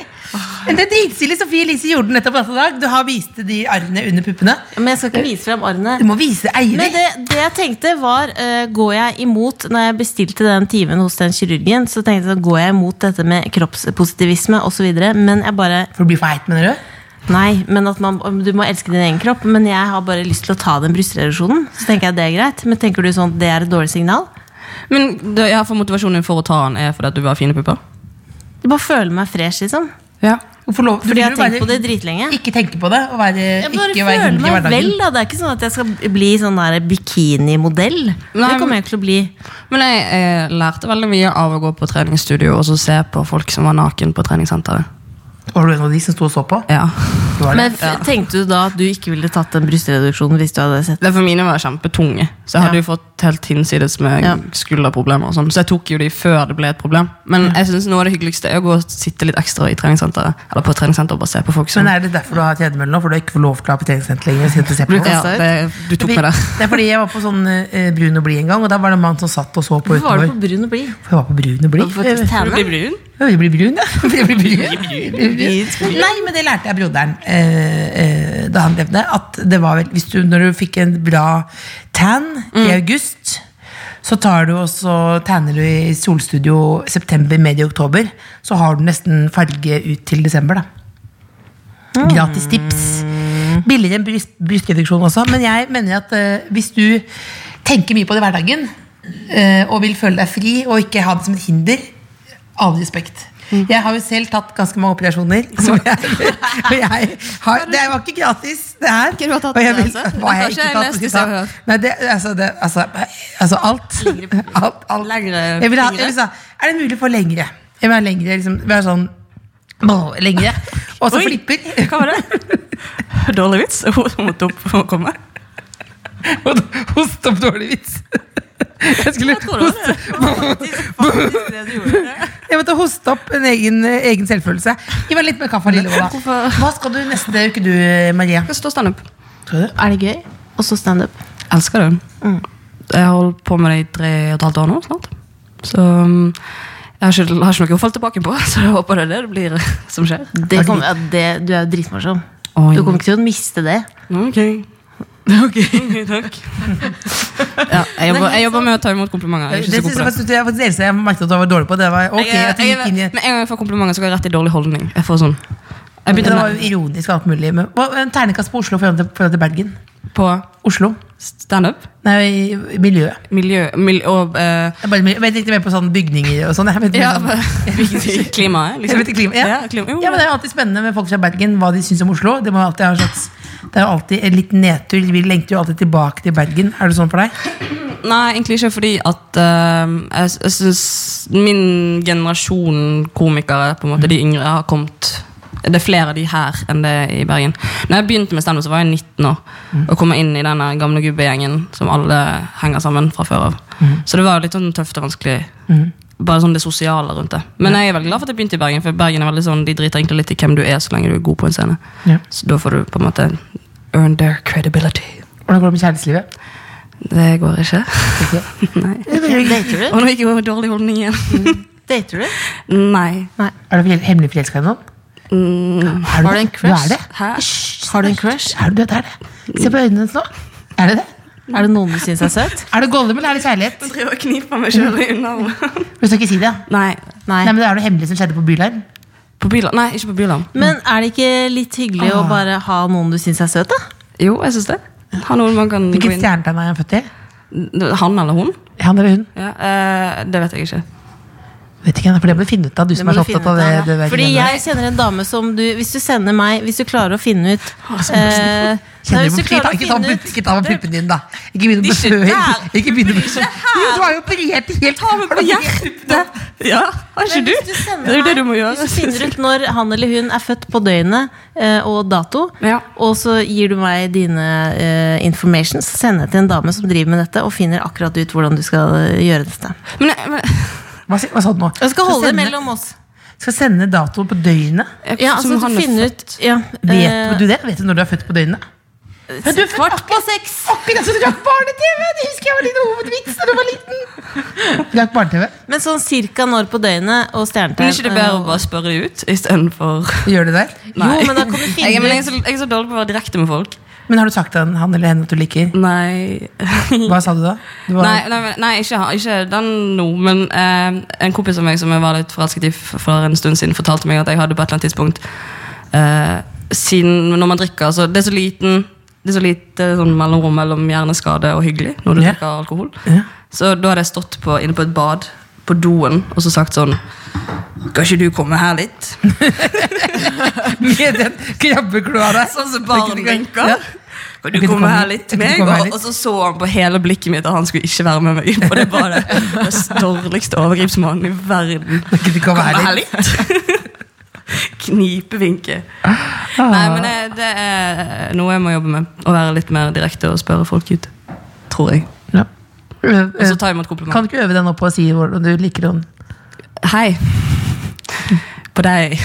Speaker 2: Men Det er dritstilig Sofie Elise gjorde nettopp altså, i dag. Du har vist de arrene under puppene.
Speaker 3: Men jeg skal ikke vise frem arrene.
Speaker 2: Du må vise eier
Speaker 3: Men det, det jeg tenkte var eh, Går jeg imot Når jeg bestilte den timen hos den kirurgen, så tenkte jeg sånn, går jeg imot dette med kroppspositivisme osv. Men jeg bare
Speaker 2: For å bli for heit, mener du?
Speaker 3: Nei, men at man, du må elske din egen kropp. Men jeg har bare lyst til å ta den brystreduksjonen. Så tenker jeg det er greit. Men tenker du sånn det er et dårlig signal?
Speaker 4: Men det, jeg har for motivasjonen din for å ta den er fordi at du har fine pupper?
Speaker 3: Jeg bare føler meg fresh, liksom.
Speaker 4: Ja.
Speaker 2: Hvorfor lov-
Speaker 3: Fordi jeg
Speaker 2: vil
Speaker 3: har
Speaker 2: du
Speaker 3: tenkt på det
Speaker 2: være-
Speaker 3: dritlenge.
Speaker 2: Ikke tenke på det og være,
Speaker 3: Jeg bare
Speaker 2: ikke være
Speaker 3: føler
Speaker 2: hund i
Speaker 3: meg vel,
Speaker 2: hverdagen.
Speaker 3: da. Det er ikke sånn at jeg skal bli sånn der bikinimodell. Det
Speaker 4: men-
Speaker 3: kommer jeg ikke til å bli.
Speaker 4: Men jeg, eh, lærte veldig mye av å gå på treningsstudio og så se på folk som var naken på treningssenteret.
Speaker 2: Var du en av de som sto og så på?
Speaker 4: Ja.
Speaker 2: Du var
Speaker 3: Men
Speaker 2: det.
Speaker 3: f tenkte du da at du ikke ville tatt den brystreduksjonen hvis du hadde sett
Speaker 4: Det for mine var kjempetunge, så jeg hadde jo fått helt hinsides med
Speaker 3: Ja.
Speaker 4: skulderproblemer. og sånn. Så jeg tok jo de før det ble et problem. Men jeg synes noe av det hyggeligste er å gå og sitte litt ekstra i treningssenteret. Eller på treningssenter og bare se på folk som
Speaker 2: Men er det derfor du har tredemølle nå? For du har ikke fått lov til å ha på treningssenter lenger? sitte og se på
Speaker 4: du,
Speaker 2: noe?
Speaker 4: ja, det, du tok meg der.
Speaker 2: Det er fordi jeg var på sånn eh, Brun og blid en gang, og da var det en mann som satt og så på
Speaker 3: Hvorfor var du
Speaker 2: utover.
Speaker 3: på brun og blid?
Speaker 2: For jeg var på Brun og blid.
Speaker 3: Har du fått
Speaker 2: Jeg-
Speaker 3: tanning?
Speaker 2: Jeg blir brun, ja. Jeg blir brun. Jeg blir brun. Nei, men det lærte jeg broderen eh, eh, da han levde. At det var vel hvis du, Når du fikk en bra tan i
Speaker 3: Mm.
Speaker 2: august, så tar du og så tanner du i solstudio september, medio oktober. Så har du nesten farge ut til desember, da.
Speaker 4: Ah.
Speaker 2: Gratis tips. Billigere enn bryst, brystreduksjon også. Men jeg mener at eh, hvis du tenker mye på det i hverdagen, eh, og vil føle deg fri og ikke ha det som et hinder, all respekt.
Speaker 4: Mm.
Speaker 2: Jeg har jo selv tatt ganske mange operasjoner. Som jeg, og jeg har, det var ikke gratis, det her.
Speaker 4: Ikke du har tatt
Speaker 2: og jeg
Speaker 4: det,
Speaker 2: vil-
Speaker 4: altså?
Speaker 2: hva har jeg
Speaker 4: Kanskje
Speaker 2: ikke
Speaker 4: jeg
Speaker 2: tatt,
Speaker 4: leste
Speaker 2: skal jeg
Speaker 4: det,
Speaker 2: ta?
Speaker 4: altså.
Speaker 2: Nei, det, altså, det, altså, altså alt. alt, alt.
Speaker 4: Lengre
Speaker 2: jeg vil ha, jeg
Speaker 4: fingre?
Speaker 2: vil sa, er det mulig å få lengre? Jeg vil ha lengre, liksom, jeg vil ha sånn, åh, lengre. Og så
Speaker 4: Oi.
Speaker 2: flipper.
Speaker 4: Hva var det? Dårlig vits. Hun måtte opp for å komme.
Speaker 2: Og host opp dårlig vits. Jeg skulle hoste Jeg måtte hoste opp en egen, egen selvfølelse. Gi meg litt mer kaffe, lille Ola. Hva skal du neste uke, du, Maria?
Speaker 4: Jeg står standup.
Speaker 3: Er det gøy? Og så standup.
Speaker 4: Elsker det.
Speaker 2: Mm.
Speaker 4: Jeg har holdt på med det i tre og et halvt år nå snart. Så um, jeg har ikke, har ikke noe å falle tilbake på, så jeg håper det er det det blir som skjer.
Speaker 3: Det kommer- ja, det, du er jo dritmorsom.
Speaker 4: Oi. Mm,
Speaker 3: Du kommer ikke til å miste det.
Speaker 4: Ok. Ok, takk. ja, jeg, jobber, jeg jobber med å ta imot komplimenter.
Speaker 2: altså- Det
Speaker 4: Jeg er ikke så
Speaker 2: synes jeg
Speaker 4: god på det.
Speaker 2: faktisk jeg faktisk eneste jeg merket at du var dårlig på. Det var ok
Speaker 4: Jeg-
Speaker 2: at du
Speaker 4: jeg-
Speaker 2: gikk inn i
Speaker 4: Med en gang jeg får komplimenter, så går jeg rett i dårlig holdning. Jeg får sånn Jeg
Speaker 2: Det
Speaker 4: begynte
Speaker 2: var jo
Speaker 4: med
Speaker 2: ironisk og alt mulig. Men, hva, en ternekast på Oslo i forhold til, forhold til Bergen.
Speaker 4: på
Speaker 2: Oslo.
Speaker 4: standup.
Speaker 2: Nei, i- i miljøet.
Speaker 4: Miljø, mil- og eh,
Speaker 2: Jeg bare, jeg vet ikke mer på sånne bygninger og sånn. Jeg vet,
Speaker 4: ja,
Speaker 2: mer sånn-
Speaker 4: klimaet,
Speaker 2: jeg
Speaker 4: liksom.
Speaker 2: vet ikke klima. Ja.
Speaker 4: klima. Jo,
Speaker 2: Ja, men det er alltid spennende med folk fra Bergen, hva de syns om Oslo. Det, må alltid ha en slags, det er jo alltid en liten nedtur. Vi lengter jo alltid tilbake til Bergen. Er det sånn for deg?
Speaker 4: Nei, egentlig ikke fordi at ehm, jeg, jeg syns min generasjon komikere, på en måte, de yngre, har kommet Det er flere av de her enn det er i Bergen. Når jeg begynte med standup, så var jeg 19 år. Og kom inn i denne gamle gubbegjengen som alle henger sammen fra før av. Så det var jo litt sånn tøft og vanskelig. Bare sånn det sosiale rundt det. Men jeg er veldig glad for at jeg begynte i Bergen, for Bergen er veldig sånn, de driter egentlig litt i hvem du er, så lenge du er god på en scene.
Speaker 2: Ja.
Speaker 4: Så da får du på en måte earn their credibility.
Speaker 2: Hvordan går det med kjærlighetslivet?
Speaker 4: Det går ikke. Nei.
Speaker 3: Dater du?
Speaker 4: Og nå gikk jo dårlig holdning igjen.
Speaker 3: Dater du?
Speaker 4: Nei.
Speaker 2: Er du hemmelig forelska i noen? Er
Speaker 3: Har du en crush?
Speaker 2: Du er det?
Speaker 4: Hæ?
Speaker 3: Har du en crush?
Speaker 2: Er du det? er det? Se på øynene hennes nå. Er det det?
Speaker 3: Er det noen du syns er søt?
Speaker 2: Er det Gollum eller er det kjærlighet?
Speaker 4: Jeg driver og kniper meg sjøl i underarmen.
Speaker 2: Du skal ikke si det. ja.
Speaker 4: Nei.
Speaker 3: Nei.
Speaker 2: Nei, men Det er noe hemmelig som skjedde på Bylarm.
Speaker 4: På Byland? Nei, ikke på Byland.
Speaker 3: Men er det ikke litt hyggelig å
Speaker 2: Ah.
Speaker 3: bare ha noen du syns er søt, da?
Speaker 4: Jo, jeg syns det. Ha noen man kan gå
Speaker 2: Hvilket
Speaker 4: inn
Speaker 2: stjernetegn er han født i?
Speaker 4: Han eller hun?
Speaker 2: Han eller hun?
Speaker 4: Ja, eh, det vet jeg ikke.
Speaker 2: Vet ikke, For det må du finne ut av, du som
Speaker 3: må
Speaker 2: er så
Speaker 3: du finne
Speaker 2: opptatt av
Speaker 3: ut
Speaker 2: det.
Speaker 3: av, da.
Speaker 2: det der
Speaker 3: Fordi
Speaker 2: greiene.
Speaker 3: jeg kjenner en dame som du Hvis du sender meg Hvis du klarer å finne ut eh, nei,
Speaker 2: Kjenner
Speaker 3: hvis
Speaker 2: du
Speaker 3: du
Speaker 2: på
Speaker 3: klarer å
Speaker 2: Ikke ta
Speaker 3: finne
Speaker 2: med-
Speaker 3: ut-
Speaker 2: ikke ta med puppene dine, da. Ikke begynn å
Speaker 4: Ikke
Speaker 2: besøke
Speaker 4: der.
Speaker 2: Ikke begynn å besøke
Speaker 4: her.
Speaker 2: Jo, du har jo operert helt
Speaker 4: Ta meg
Speaker 2: Har
Speaker 4: på
Speaker 2: du ikke-
Speaker 4: hjertet! Ja, har ikke
Speaker 3: Men
Speaker 4: du?
Speaker 3: hvis sender
Speaker 4: Det er jo det du må
Speaker 3: meg-
Speaker 4: gjøre.
Speaker 3: Hvis du finner ut når han eller hun er født på døgnet eh, og dato,
Speaker 4: Ja.
Speaker 3: og så gir du meg dine eh, informations, så sender jeg til en dame som driver med dette, og finner akkurat ut hvordan du skal eh, gjøre dette.
Speaker 4: Men, jeg- men
Speaker 2: Hva si- hva sa du nå?
Speaker 3: Jeg
Speaker 2: Skal
Speaker 3: skal holde det
Speaker 2: sende-
Speaker 3: mellom oss.
Speaker 2: Skal sende dato på døgnet?
Speaker 4: jeg-
Speaker 3: Ja,
Speaker 4: som
Speaker 3: altså
Speaker 4: han
Speaker 3: du
Speaker 4: er
Speaker 3: finner
Speaker 4: født.
Speaker 3: ut ja, eh,
Speaker 2: Vet du det? Vet du når du er født på døgnet? Men du er født
Speaker 3: Kvart på
Speaker 2: akkurat
Speaker 3: seks!
Speaker 2: akkurat som du drakk barne-TV! Det husker jeg var litt hovedvits da du var liten. Du Drakk barne-TV?
Speaker 3: Men sånn cirka når på døgnet og
Speaker 4: Men
Speaker 3: stjernetegn. eh,
Speaker 4: er ikke det bedre å bare spørre de ut istedenfor
Speaker 2: Gjør du det der?
Speaker 3: Jo, men da kan du finne
Speaker 4: jeg, men jeg, er
Speaker 3: ut
Speaker 4: så, jeg er så dårlig på å være direkte med folk.
Speaker 2: Men har du sagt til han- han eller henne at du liker?
Speaker 4: Nei.
Speaker 2: Hva sa du da? Du var-
Speaker 4: Nei, nei, men- nei ikke, han- ikke den nå, men eh, en kompis av meg som jeg var litt forelsket i f- for en stund siden, fortalte meg at jeg hadde på et eller annet tidspunkt eh, siden, Når man drikker, så det er så liten det er så lite sånn mellomrom mellom hjerneskade og hyggelig når du
Speaker 2: Ja.
Speaker 4: drikker alkohol.
Speaker 2: Ja.
Speaker 4: Så da hadde jeg stått på, inne på et bad, på doen, og så sagt sånn Kan ikke du komme her litt?
Speaker 2: Med den krabbekloa der.
Speaker 4: Sånn som barn
Speaker 2: Det kunne-
Speaker 4: drinker.
Speaker 2: Ja.
Speaker 4: Kan du komme her litt til
Speaker 2: Kan du
Speaker 4: meg?
Speaker 2: komme her
Speaker 4: Og,
Speaker 2: litt?
Speaker 4: og så så han på hele blikket mitt at han skulle ikke være med meg inn på det badet. Den dårligste overgripsmannen i verden.
Speaker 2: Kan du komme her litt?
Speaker 4: Knipevinke.
Speaker 2: Ah.
Speaker 4: Nei, men det, det er noe jeg må jobbe med. Å være litt mer direkte og spørre folk ut. Tror jeg.
Speaker 2: Ja. Ø-
Speaker 4: Og så
Speaker 2: ø-
Speaker 4: ta imot
Speaker 2: Kan
Speaker 4: komplimenter.
Speaker 2: du ikke øve deg nå på å si hvordan du liker henne?
Speaker 4: Hei. På deg.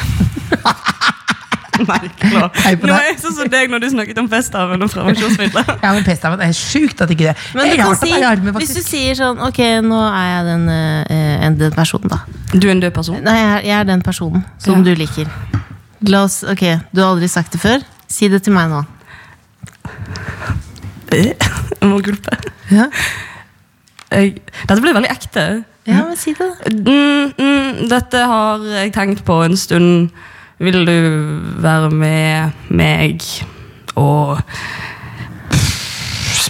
Speaker 4: Nei, klar.
Speaker 2: Hei på
Speaker 4: Nå er
Speaker 2: deg.
Speaker 4: jeg sånn som deg når du snakket om festhaven og prevensjonsmidler.
Speaker 2: Ja, men P-staven er sjukt at ikke det.
Speaker 3: Men
Speaker 2: det
Speaker 3: du
Speaker 2: er
Speaker 3: kan
Speaker 2: rart at
Speaker 3: si,
Speaker 2: jeg har med,
Speaker 3: hvis du
Speaker 2: faktisk.
Speaker 3: sier sånn Ok, nå er jeg den, eh, en- den personen, da.
Speaker 4: Du er en død person.
Speaker 3: Nei, jeg er, jeg er den personen som
Speaker 4: Ja.
Speaker 3: du liker. La oss, ok, Du har aldri sagt det før. Si det til meg nå.
Speaker 4: Jeg må gulpe.
Speaker 2: Ja.
Speaker 4: Jeg, dette blir veldig ekte.
Speaker 3: Ja, men si det.
Speaker 4: Mm, mm, dette har jeg tenkt på en stund. Vil du være med meg og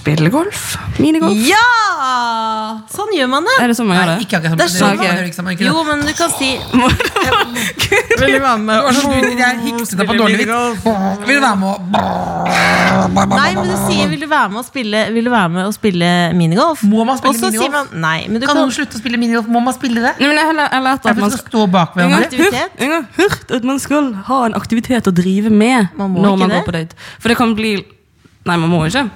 Speaker 4: spille golf? Minigolf?
Speaker 3: Ja! Sånn gjør man det.
Speaker 4: Er det sånn man gjør
Speaker 2: Nei,
Speaker 4: det?
Speaker 2: ikke akkurat
Speaker 3: Det er
Speaker 2: som
Speaker 3: sånn.
Speaker 2: det er liksom, ikke det?
Speaker 3: Jo, men du kan si
Speaker 4: Gud,
Speaker 2: Vil du være med? Å, Gud, Jeg hikset opp på dårlig vits. Vil du være med og
Speaker 3: Nei, men du sier 'vil du være med og spille, vil du være med og spille minigolf'?
Speaker 2: Må man spille
Speaker 3: og så sier man
Speaker 2: minigolf?
Speaker 3: nei. Men du
Speaker 2: Kan
Speaker 3: kan,
Speaker 2: noen slutte å spille minigolf? Må man spille det?
Speaker 4: Nei, men jeg har læ- jeg har lært
Speaker 2: Er det
Speaker 4: at
Speaker 2: for
Speaker 4: man
Speaker 2: at du
Speaker 4: skal
Speaker 2: skal stå bak
Speaker 4: Jeg
Speaker 2: hverandre?
Speaker 4: har hørt-
Speaker 3: Aktivitet?
Speaker 4: Jeg har hørt at man skal ha en aktivitet å drive med
Speaker 3: Man må
Speaker 4: når
Speaker 3: ikke
Speaker 4: man
Speaker 3: det.
Speaker 4: går på date. For det kan bli Nei, man må ikke.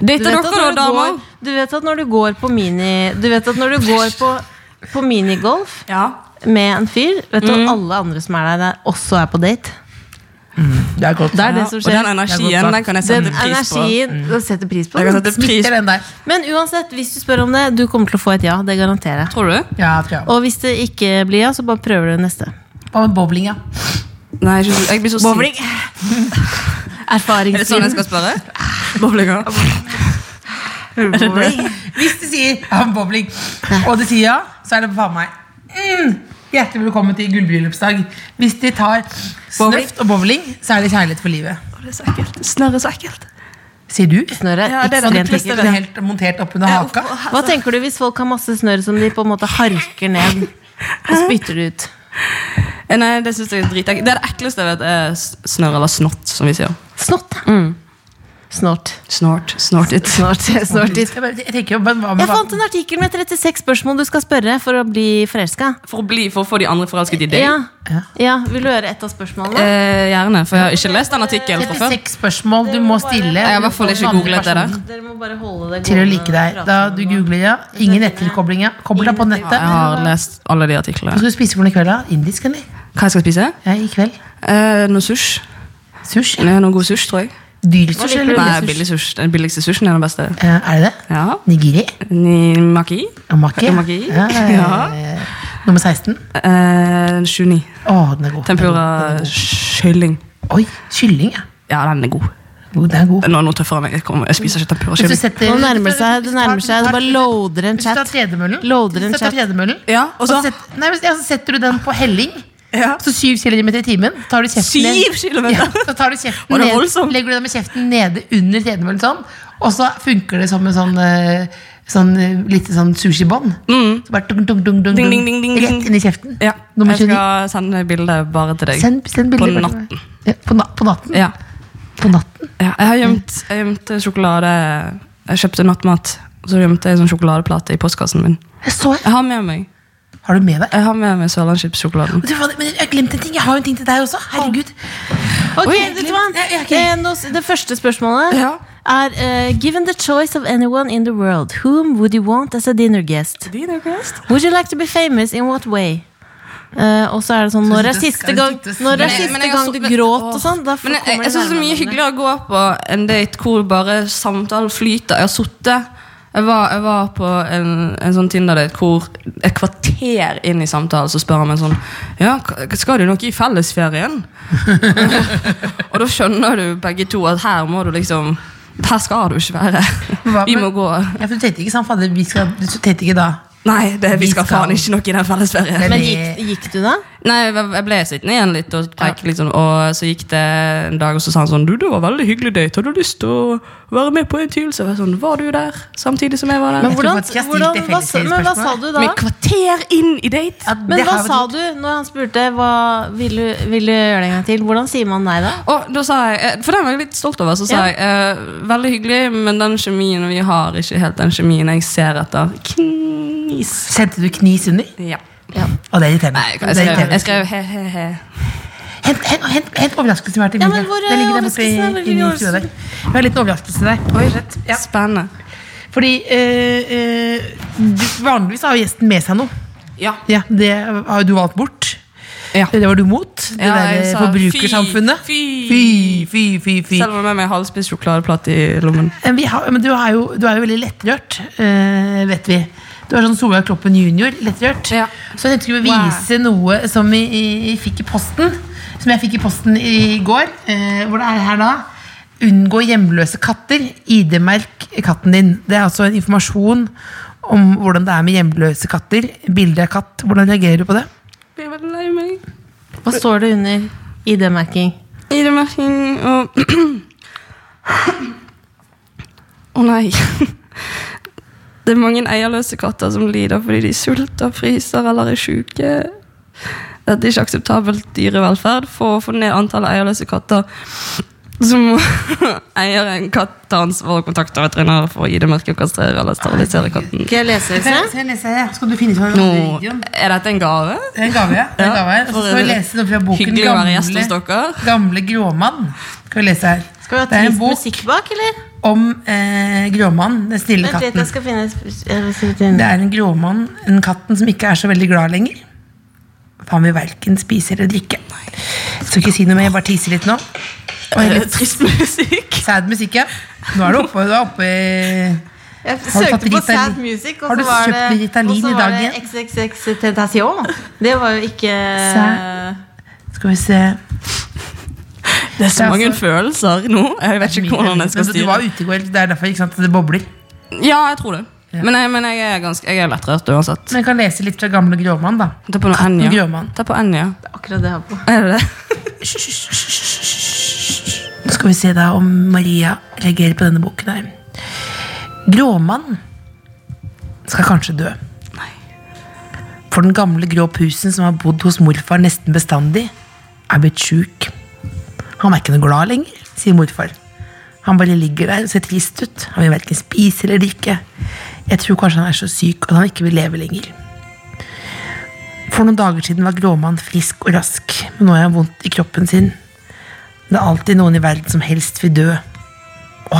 Speaker 3: Du
Speaker 4: Date
Speaker 3: vet,
Speaker 4: dere,
Speaker 3: at
Speaker 4: da,
Speaker 3: når du,
Speaker 4: damer.
Speaker 3: går, du vet at når du går på mini Du vet at når du går på, på minigolf
Speaker 4: Ja.
Speaker 3: med en fyr Vet
Speaker 4: Mm.
Speaker 3: du at alle andre som er der, der, også er på date?
Speaker 2: Det er godt.
Speaker 3: Det er
Speaker 4: Ja,
Speaker 3: det som skjer.
Speaker 4: Og den
Speaker 2: Det er godt
Speaker 4: energien
Speaker 2: sagt.
Speaker 4: den kan jeg
Speaker 3: Den
Speaker 4: sette pris på.
Speaker 3: energien
Speaker 4: Mm.
Speaker 3: Du setter pris på
Speaker 4: Jeg kan
Speaker 3: den.
Speaker 4: sette pris
Speaker 2: Smitter den der.
Speaker 3: Men uansett, hvis du spør om det, du kommer til å få et ja. Det garanterer jeg.
Speaker 4: Tror du?
Speaker 2: Ja, tror jeg.
Speaker 3: Og hvis det ikke blir ja, så bare prøver du neste.
Speaker 2: Hva med bowling, ja?
Speaker 4: Nei, jeg synes- jeg blir så sint. Er det sånn jeg
Speaker 3: Erfaringsviden.
Speaker 4: skal spørre? Bowlinga.
Speaker 2: Hvis du sier ja, bowling, og du sier ja, så er det faen meg mm, Hjertelig velkommen til gullbryllupsdag. Hvis de tar snøft og bowling, så er det kjærlighet for livet.
Speaker 4: Det er så ekkelt. Snørr er så ekkelt.
Speaker 2: Sier du?
Speaker 3: Snørr er
Speaker 4: Ja, det er sånn
Speaker 2: Og de
Speaker 4: det altså-
Speaker 3: ekstremt
Speaker 2: fleste
Speaker 3: ekkelt.
Speaker 2: er det helt montert oppunder haka.
Speaker 3: Hva tenker du hvis folk har masse snørr som de på en måte harker ned og spytter det ut?
Speaker 4: Eh, Nei, Det synes jeg er dritekkelt. Det er det ekleste jeg vet, er s- snørr eller snott, som vi sier.
Speaker 3: Snott.
Speaker 4: Mm.
Speaker 3: Snort.
Speaker 4: Snort. Snort it.
Speaker 3: Snort. Snort it.
Speaker 2: Jeg bare- jeg tenker jo, men hva med
Speaker 3: Jeg fant en artikkel med 36 spørsmål du skal spørre for å bli forelska.
Speaker 4: For å, bli, for å få de andre forelsket i deg?
Speaker 3: Ja. ja. Vil du høre et av spørsmålene?
Speaker 4: Eh, gjerne, for jeg har ikke lest den artikkelen fra før.
Speaker 2: 36 spørsmål du må stille
Speaker 4: Jeg har i hvert fall ikke googlet det der.
Speaker 3: Dere må bare holde det
Speaker 2: Eh, til å
Speaker 3: gående
Speaker 2: like
Speaker 3: og
Speaker 2: deg.
Speaker 3: prate
Speaker 2: Da
Speaker 3: om
Speaker 2: du
Speaker 3: det.
Speaker 2: googler, ja. Ingen etterkobling, ja. Kobler deg på
Speaker 4: Jeg
Speaker 2: nettet.
Speaker 4: har lest alle de
Speaker 2: Hva
Speaker 4: artiklene.
Speaker 2: skal du spise for noe i kveld, da? Indisk, eller?
Speaker 4: Hva jeg skal spise?
Speaker 2: Ja, i kveld.
Speaker 4: Eh, noe sush.
Speaker 2: Sushi?
Speaker 4: Nei, Noe god sush, tror jeg.
Speaker 2: Dyrsushi, eller?
Speaker 4: Nei,
Speaker 2: billig sushi?
Speaker 4: billig sush. Den billigste sushen er den beste.
Speaker 2: Eh, Er det det?
Speaker 4: Ja.
Speaker 2: Nigiri?
Speaker 4: Ni maki.
Speaker 2: Og maki? ja.
Speaker 4: Maki.
Speaker 2: Ja, ja, ja, ja. Nummer 16?
Speaker 4: Eh, 29.
Speaker 2: Å, den er god. Den er
Speaker 4: Tempura
Speaker 2: god.
Speaker 4: kylling.
Speaker 2: Oi, kylling, ja.
Speaker 4: Ja, den er god.
Speaker 2: God, den er god.
Speaker 4: Nå er det noe tøffere enn meg. Jeg, kommer, jeg spiser ikke tempura
Speaker 2: Hvis du
Speaker 4: kylling.
Speaker 2: setter-
Speaker 3: Nå nærmer det seg, det nærmer seg. Det bare loader en
Speaker 2: Hvis du tar
Speaker 3: chat.
Speaker 2: tredemøllen,
Speaker 3: Loader en
Speaker 2: hvis du tar
Speaker 3: chat.
Speaker 2: tredemøllen,
Speaker 4: Ja, og så-
Speaker 2: set- nei, men- ja, så setter du den på helling,
Speaker 4: Ja.
Speaker 2: så syv kilometer i timen, tar du kjeften ned-
Speaker 4: Syv kilometer?
Speaker 2: Ja, så tar du kjeften
Speaker 4: Var det
Speaker 2: ned-
Speaker 4: voldsomt?
Speaker 2: legger du den med kjeften nede under tredemøllen sånn, og så funker det som en sånn, eh, sånn eh, lite sånn sushibånd. Så bare dung, dung, dung, dung,
Speaker 4: Mm. Ding,
Speaker 2: dung,
Speaker 4: ding, ding, ding, ding.
Speaker 2: rett inn i kjeften.
Speaker 4: Ja.
Speaker 2: Nummer
Speaker 4: Jeg
Speaker 2: 29.
Speaker 4: skal sende bilde bare til deg.
Speaker 2: Send, send bilder.
Speaker 4: På
Speaker 2: bare til meg. Ja, på, na på natten.
Speaker 4: Ja.
Speaker 2: På natten.
Speaker 4: Ja, jeg har gjemt, jeg har gjemt sjokolade Jeg kjøpte nattmat, og så gjemte jeg en sånn sjokoladeplate i postkassen min.
Speaker 2: Jeg så jeg.
Speaker 4: Jeg har med meg
Speaker 2: Har du med deg?
Speaker 4: Jeg har med meg Sørlandsskipssjokoladen.
Speaker 2: Du, faen, Men jeg har glemt en ting. Jeg har jo en ting til deg også. Herregud.
Speaker 3: Ok,
Speaker 2: Oi,
Speaker 3: vet du hva?
Speaker 2: jeg- jeg-
Speaker 3: Eh, nå s- Det første spørsmålet
Speaker 4: Ja.
Speaker 3: er eh, Given the choice of anyone in the world, whom would you want as a dinner guest? Would you like to be famous in what way? Eh, og så er det sånn Når er
Speaker 2: sitter-
Speaker 3: siste
Speaker 2: skal
Speaker 3: gang,
Speaker 2: du sitte-
Speaker 3: når er
Speaker 2: Men jeg-
Speaker 3: siste gang du gråt og sånn? Da
Speaker 4: Men jeg, jeg,
Speaker 3: kommer det
Speaker 4: synes det er mye
Speaker 3: nærmere.
Speaker 4: hyggeligere å gå på en date hvor bare samtalen flyter. Jeg har sittet jeg var, jeg var på en, en sånn Tinder-date hvor et kvarter inn i samtalen så spør han meg sånn Ja, k- skal du noe i fellesferien? og da skjønner du begge to at her må du liksom Her skal du ikke være.
Speaker 2: Hva-
Speaker 4: Vi må
Speaker 2: men-
Speaker 4: gå
Speaker 2: Ja, for du tenkte ikke sånn, fader, vi skal, du tenkte ikke da
Speaker 4: Nei, det, vi
Speaker 2: Vi
Speaker 4: skal
Speaker 2: skal-
Speaker 4: faen ikke noe i den fellesferien.
Speaker 3: Men gikk, gikk du da?
Speaker 4: Nei, jeg jeg ble sittende igjen litt og preike litt sånn, og så gikk det en dag, og så sa han sånn, du, det var veldig hyggelig date, har du lyst til å være med på en til? Så jeg var sånn, var du der, samtidig som jeg var der?
Speaker 2: Men tror
Speaker 4: Men,
Speaker 3: Hvordan,
Speaker 2: faktisk jeg stilte
Speaker 3: hvordan, hva,
Speaker 2: felles
Speaker 3: sa- men hva sa
Speaker 2: spørsmål.
Speaker 3: du da?
Speaker 4: kvarter inn i date?
Speaker 2: Ja, det
Speaker 3: Men hva
Speaker 2: har vi-
Speaker 3: sa du når han spurte hva vil du, vil du gjøre det en gang til? Hvordan sier man nei da?
Speaker 4: Og da sa jeg, eh, for den var jeg litt stolt over, så sa
Speaker 3: Ja.
Speaker 4: jeg, eh, veldig hyggelig, men den kjemien vi har, ikke helt den kjemien jeg ser etter. Knis.
Speaker 2: Sendte du knis under?
Speaker 4: Ja.
Speaker 2: Å, det er irriterende.
Speaker 4: Nei, jeg
Speaker 2: Det er
Speaker 4: skrev,
Speaker 2: irriterende.
Speaker 4: jeg skrev he, he, he.
Speaker 2: Hent, hent, hent, hent overraskelsen vi har til
Speaker 3: Ja,
Speaker 2: middag.
Speaker 3: men hvor er
Speaker 2: Den ligger der borte i,
Speaker 3: overraskelsen? Hvor er
Speaker 2: inni stua der.
Speaker 3: overraskelsen?
Speaker 2: Vi har en liten overraskelse der. Ja.
Speaker 4: Spennende.
Speaker 2: Fordi eh, eh, du- vanligvis har jo gjesten med seg noe.
Speaker 4: Ja.
Speaker 2: Ja, det har jo du valgt bort.
Speaker 4: Ja.
Speaker 2: Det var du mot. Det
Speaker 4: Ja, jeg
Speaker 2: der
Speaker 4: sa,
Speaker 2: forbrukersamfunnet.
Speaker 4: fy,
Speaker 2: fy, fy, fy. fy.
Speaker 4: Selv om jeg med meg halvspist sjokoladeplatt i lommen.
Speaker 2: Men Eh, Vi har, men du, er jo, du er jo veldig lettrørt, eh, vet vi. Du er sånn Solveig Kloppen junior, lettrørt.
Speaker 4: Ja.
Speaker 2: Så jeg tenkte jeg skulle vise noe som vi, i- fikk i posten. Som jeg fikk i posten i går. eh, hvor det er her da. Unngå hjemløse katter. ID-merk katten din. Det er altså en informasjon om hvordan det er med hjemløse katter. Bilde av katt. Hvordan reagerer du på det?
Speaker 4: Jeg er veldig lei meg.
Speaker 3: Hva står det under ID-merking?
Speaker 4: ID-merking og Å nei. Det er mange eierløse katter som lider fordi de sulter, fryser eller er syke. Dette er ikke akseptabelt dyrevelferd. For å få ned antallet eierløse katter så må eieren katt ta ansvar og kontakte veterinær for å ID-merke og kastrere eller sterilisere katten.
Speaker 3: Skal jeg lese det?
Speaker 2: Se, se, lese her. Skal du finne ut av
Speaker 4: Nå,
Speaker 2: videoen?
Speaker 4: er dette en gave?
Speaker 2: Det er en gave, ja. Det er en
Speaker 4: Ja,
Speaker 2: gave. Og så
Speaker 4: for
Speaker 2: skal vi
Speaker 4: det-
Speaker 2: lese noe fra boken
Speaker 4: Hyggelig å være gjest hos
Speaker 2: Gamle,
Speaker 4: dere.
Speaker 2: gamle gråmann. Skal vi lese her.
Speaker 3: Skal vi ha
Speaker 2: det er en
Speaker 3: trist
Speaker 2: bok
Speaker 3: musikk bak, eller?
Speaker 2: om eh, gråmann, den snille
Speaker 3: Vent litt,
Speaker 2: katten.
Speaker 3: jeg skal finne jeg skal finne-
Speaker 2: Det er en gråmann, en katten som ikke er så veldig glad lenger. For han vil verken spise eller drikke. Skal ikke si noe mer, jeg bare tiser litt nå. Oi,
Speaker 4: Eh,
Speaker 2: litt
Speaker 4: Trist musikk.
Speaker 2: sad musikk, ja. Nå er du oppe, du er oppe i
Speaker 3: Jeg
Speaker 2: Har du
Speaker 3: søkte
Speaker 2: tatt
Speaker 3: på
Speaker 2: Ritalin?
Speaker 3: Sad Music, og
Speaker 2: Har du
Speaker 3: så var
Speaker 2: kjøpt
Speaker 3: det,
Speaker 2: Ritalin
Speaker 3: og så
Speaker 2: i
Speaker 3: var
Speaker 2: dag
Speaker 3: det
Speaker 2: igjen?
Speaker 3: XXX Tentacion. Det var jo ikke
Speaker 2: Sad- Skal vi se.
Speaker 4: Det er så
Speaker 2: Det er
Speaker 4: mange
Speaker 2: så-
Speaker 4: følelser nå. Jeg vet ikke hvordan jeg skal
Speaker 2: Men Du
Speaker 4: styre.
Speaker 2: var ute i går, det er derfor ikke sant, det bobler.
Speaker 4: Ja, jeg tror det. Men, jeg, men jeg er ganske Jeg er lettrørt uansett.
Speaker 2: Men jeg kan lese litt fra Gamle Gråmann, da.
Speaker 4: Ta på noe N, ja.
Speaker 2: Grønmann.
Speaker 4: Ta på N, ja.
Speaker 3: Akkurat det jeg har på.
Speaker 4: Er det det?
Speaker 2: Nå skal vi se da om Maria reagerer på denne boken her. Gråmann skal kanskje dø. For den gamle grå pusen som har bodd hos morfar nesten bestandig, er blitt sjuk. Han er ikke noe glad lenger, sier morfar. Han bare ligger der og ser trist ut. Han vil verken spise eller drikke. Jeg tror kanskje han er så syk at han ikke vil leve lenger. For noen dager siden var Gråmann frisk og rask, men nå har han vondt i kroppen sin. Det er alltid noen i verden som helst vil dø. Å,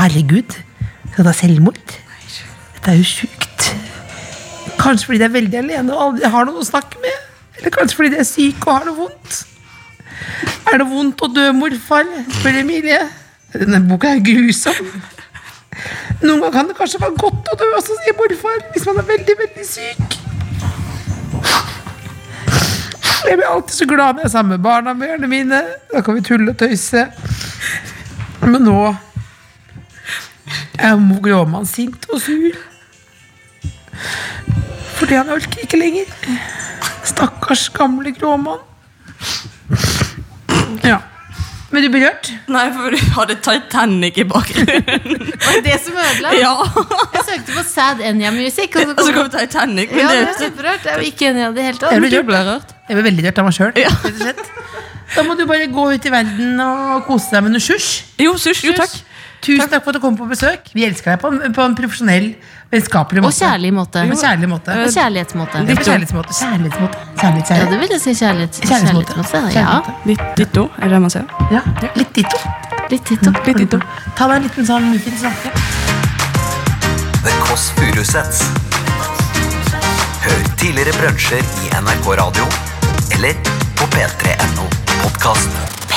Speaker 2: herregud, skal det ha selvmord? Dette er jo sjukt. Kanskje fordi de er veldig alene og aldri har noen å snakke med? Eller kanskje fordi de er syke og har det vondt? Er det vondt å dø, morfar? spør Emilie. Denne boka er grusom. Noen ganger kan det kanskje være godt å dø også, sier morfar, hvis man er veldig, veldig syk. Jeg blir alltid så glad når jeg er sammen med barna mine. mine. Da kan vi tulle og tøyse. Men nå er jo gråmann sint og sur. Fordi han orker ikke lenger. Stakkars gamle gråmann. Ja. Men du blir rørt?
Speaker 4: Nei, for du hadde Titanic i bakgrunnen.
Speaker 3: Var det det som ødela?
Speaker 4: ja.
Speaker 3: Jeg søkte på Sad Enya Music. Og så
Speaker 4: Og så
Speaker 3: kom
Speaker 4: kom Titanic. Men
Speaker 3: ja, det er
Speaker 4: Altså, det,
Speaker 3: kjemperørt. Jeg er jo ikke enig i det i det hele tatt.
Speaker 2: Jeg blir rørt.
Speaker 4: ble rørt.
Speaker 2: Jeg blir veldig rørt av meg sjøl. Da må du bare gå ut i verden og kose deg med noe sjusj.
Speaker 4: Jo, sush, jo, takk.
Speaker 2: Tusen takk for at du kom på besøk. Vi elsker deg på, en- på en profesjonell, vennskapelig
Speaker 3: Og
Speaker 2: måte.
Speaker 3: kjærlig måte.
Speaker 2: Og kjærlig måte.
Speaker 3: Og kjærlighetsmåte.
Speaker 2: Ja, på Kjærlighetsmåte. Kjærlighetsmåte. Kjærlighets-
Speaker 3: Ja, det vil jeg si. Kjærlighets
Speaker 2: Kjærlighetsmåte.
Speaker 3: kjærlighetsmåte. Ja,
Speaker 2: Kjærlighetsmåte.
Speaker 4: Ditt, ditto, er det det man sier?
Speaker 2: Ja. Litt ditto.
Speaker 3: litt ditto.
Speaker 4: Litt ditto.
Speaker 2: Ta deg en liten sånn fin snakke.
Speaker 1: The Kåss Furuseths. Hør tidligere brunsjer i NRK Radio eller på p3.no podkast.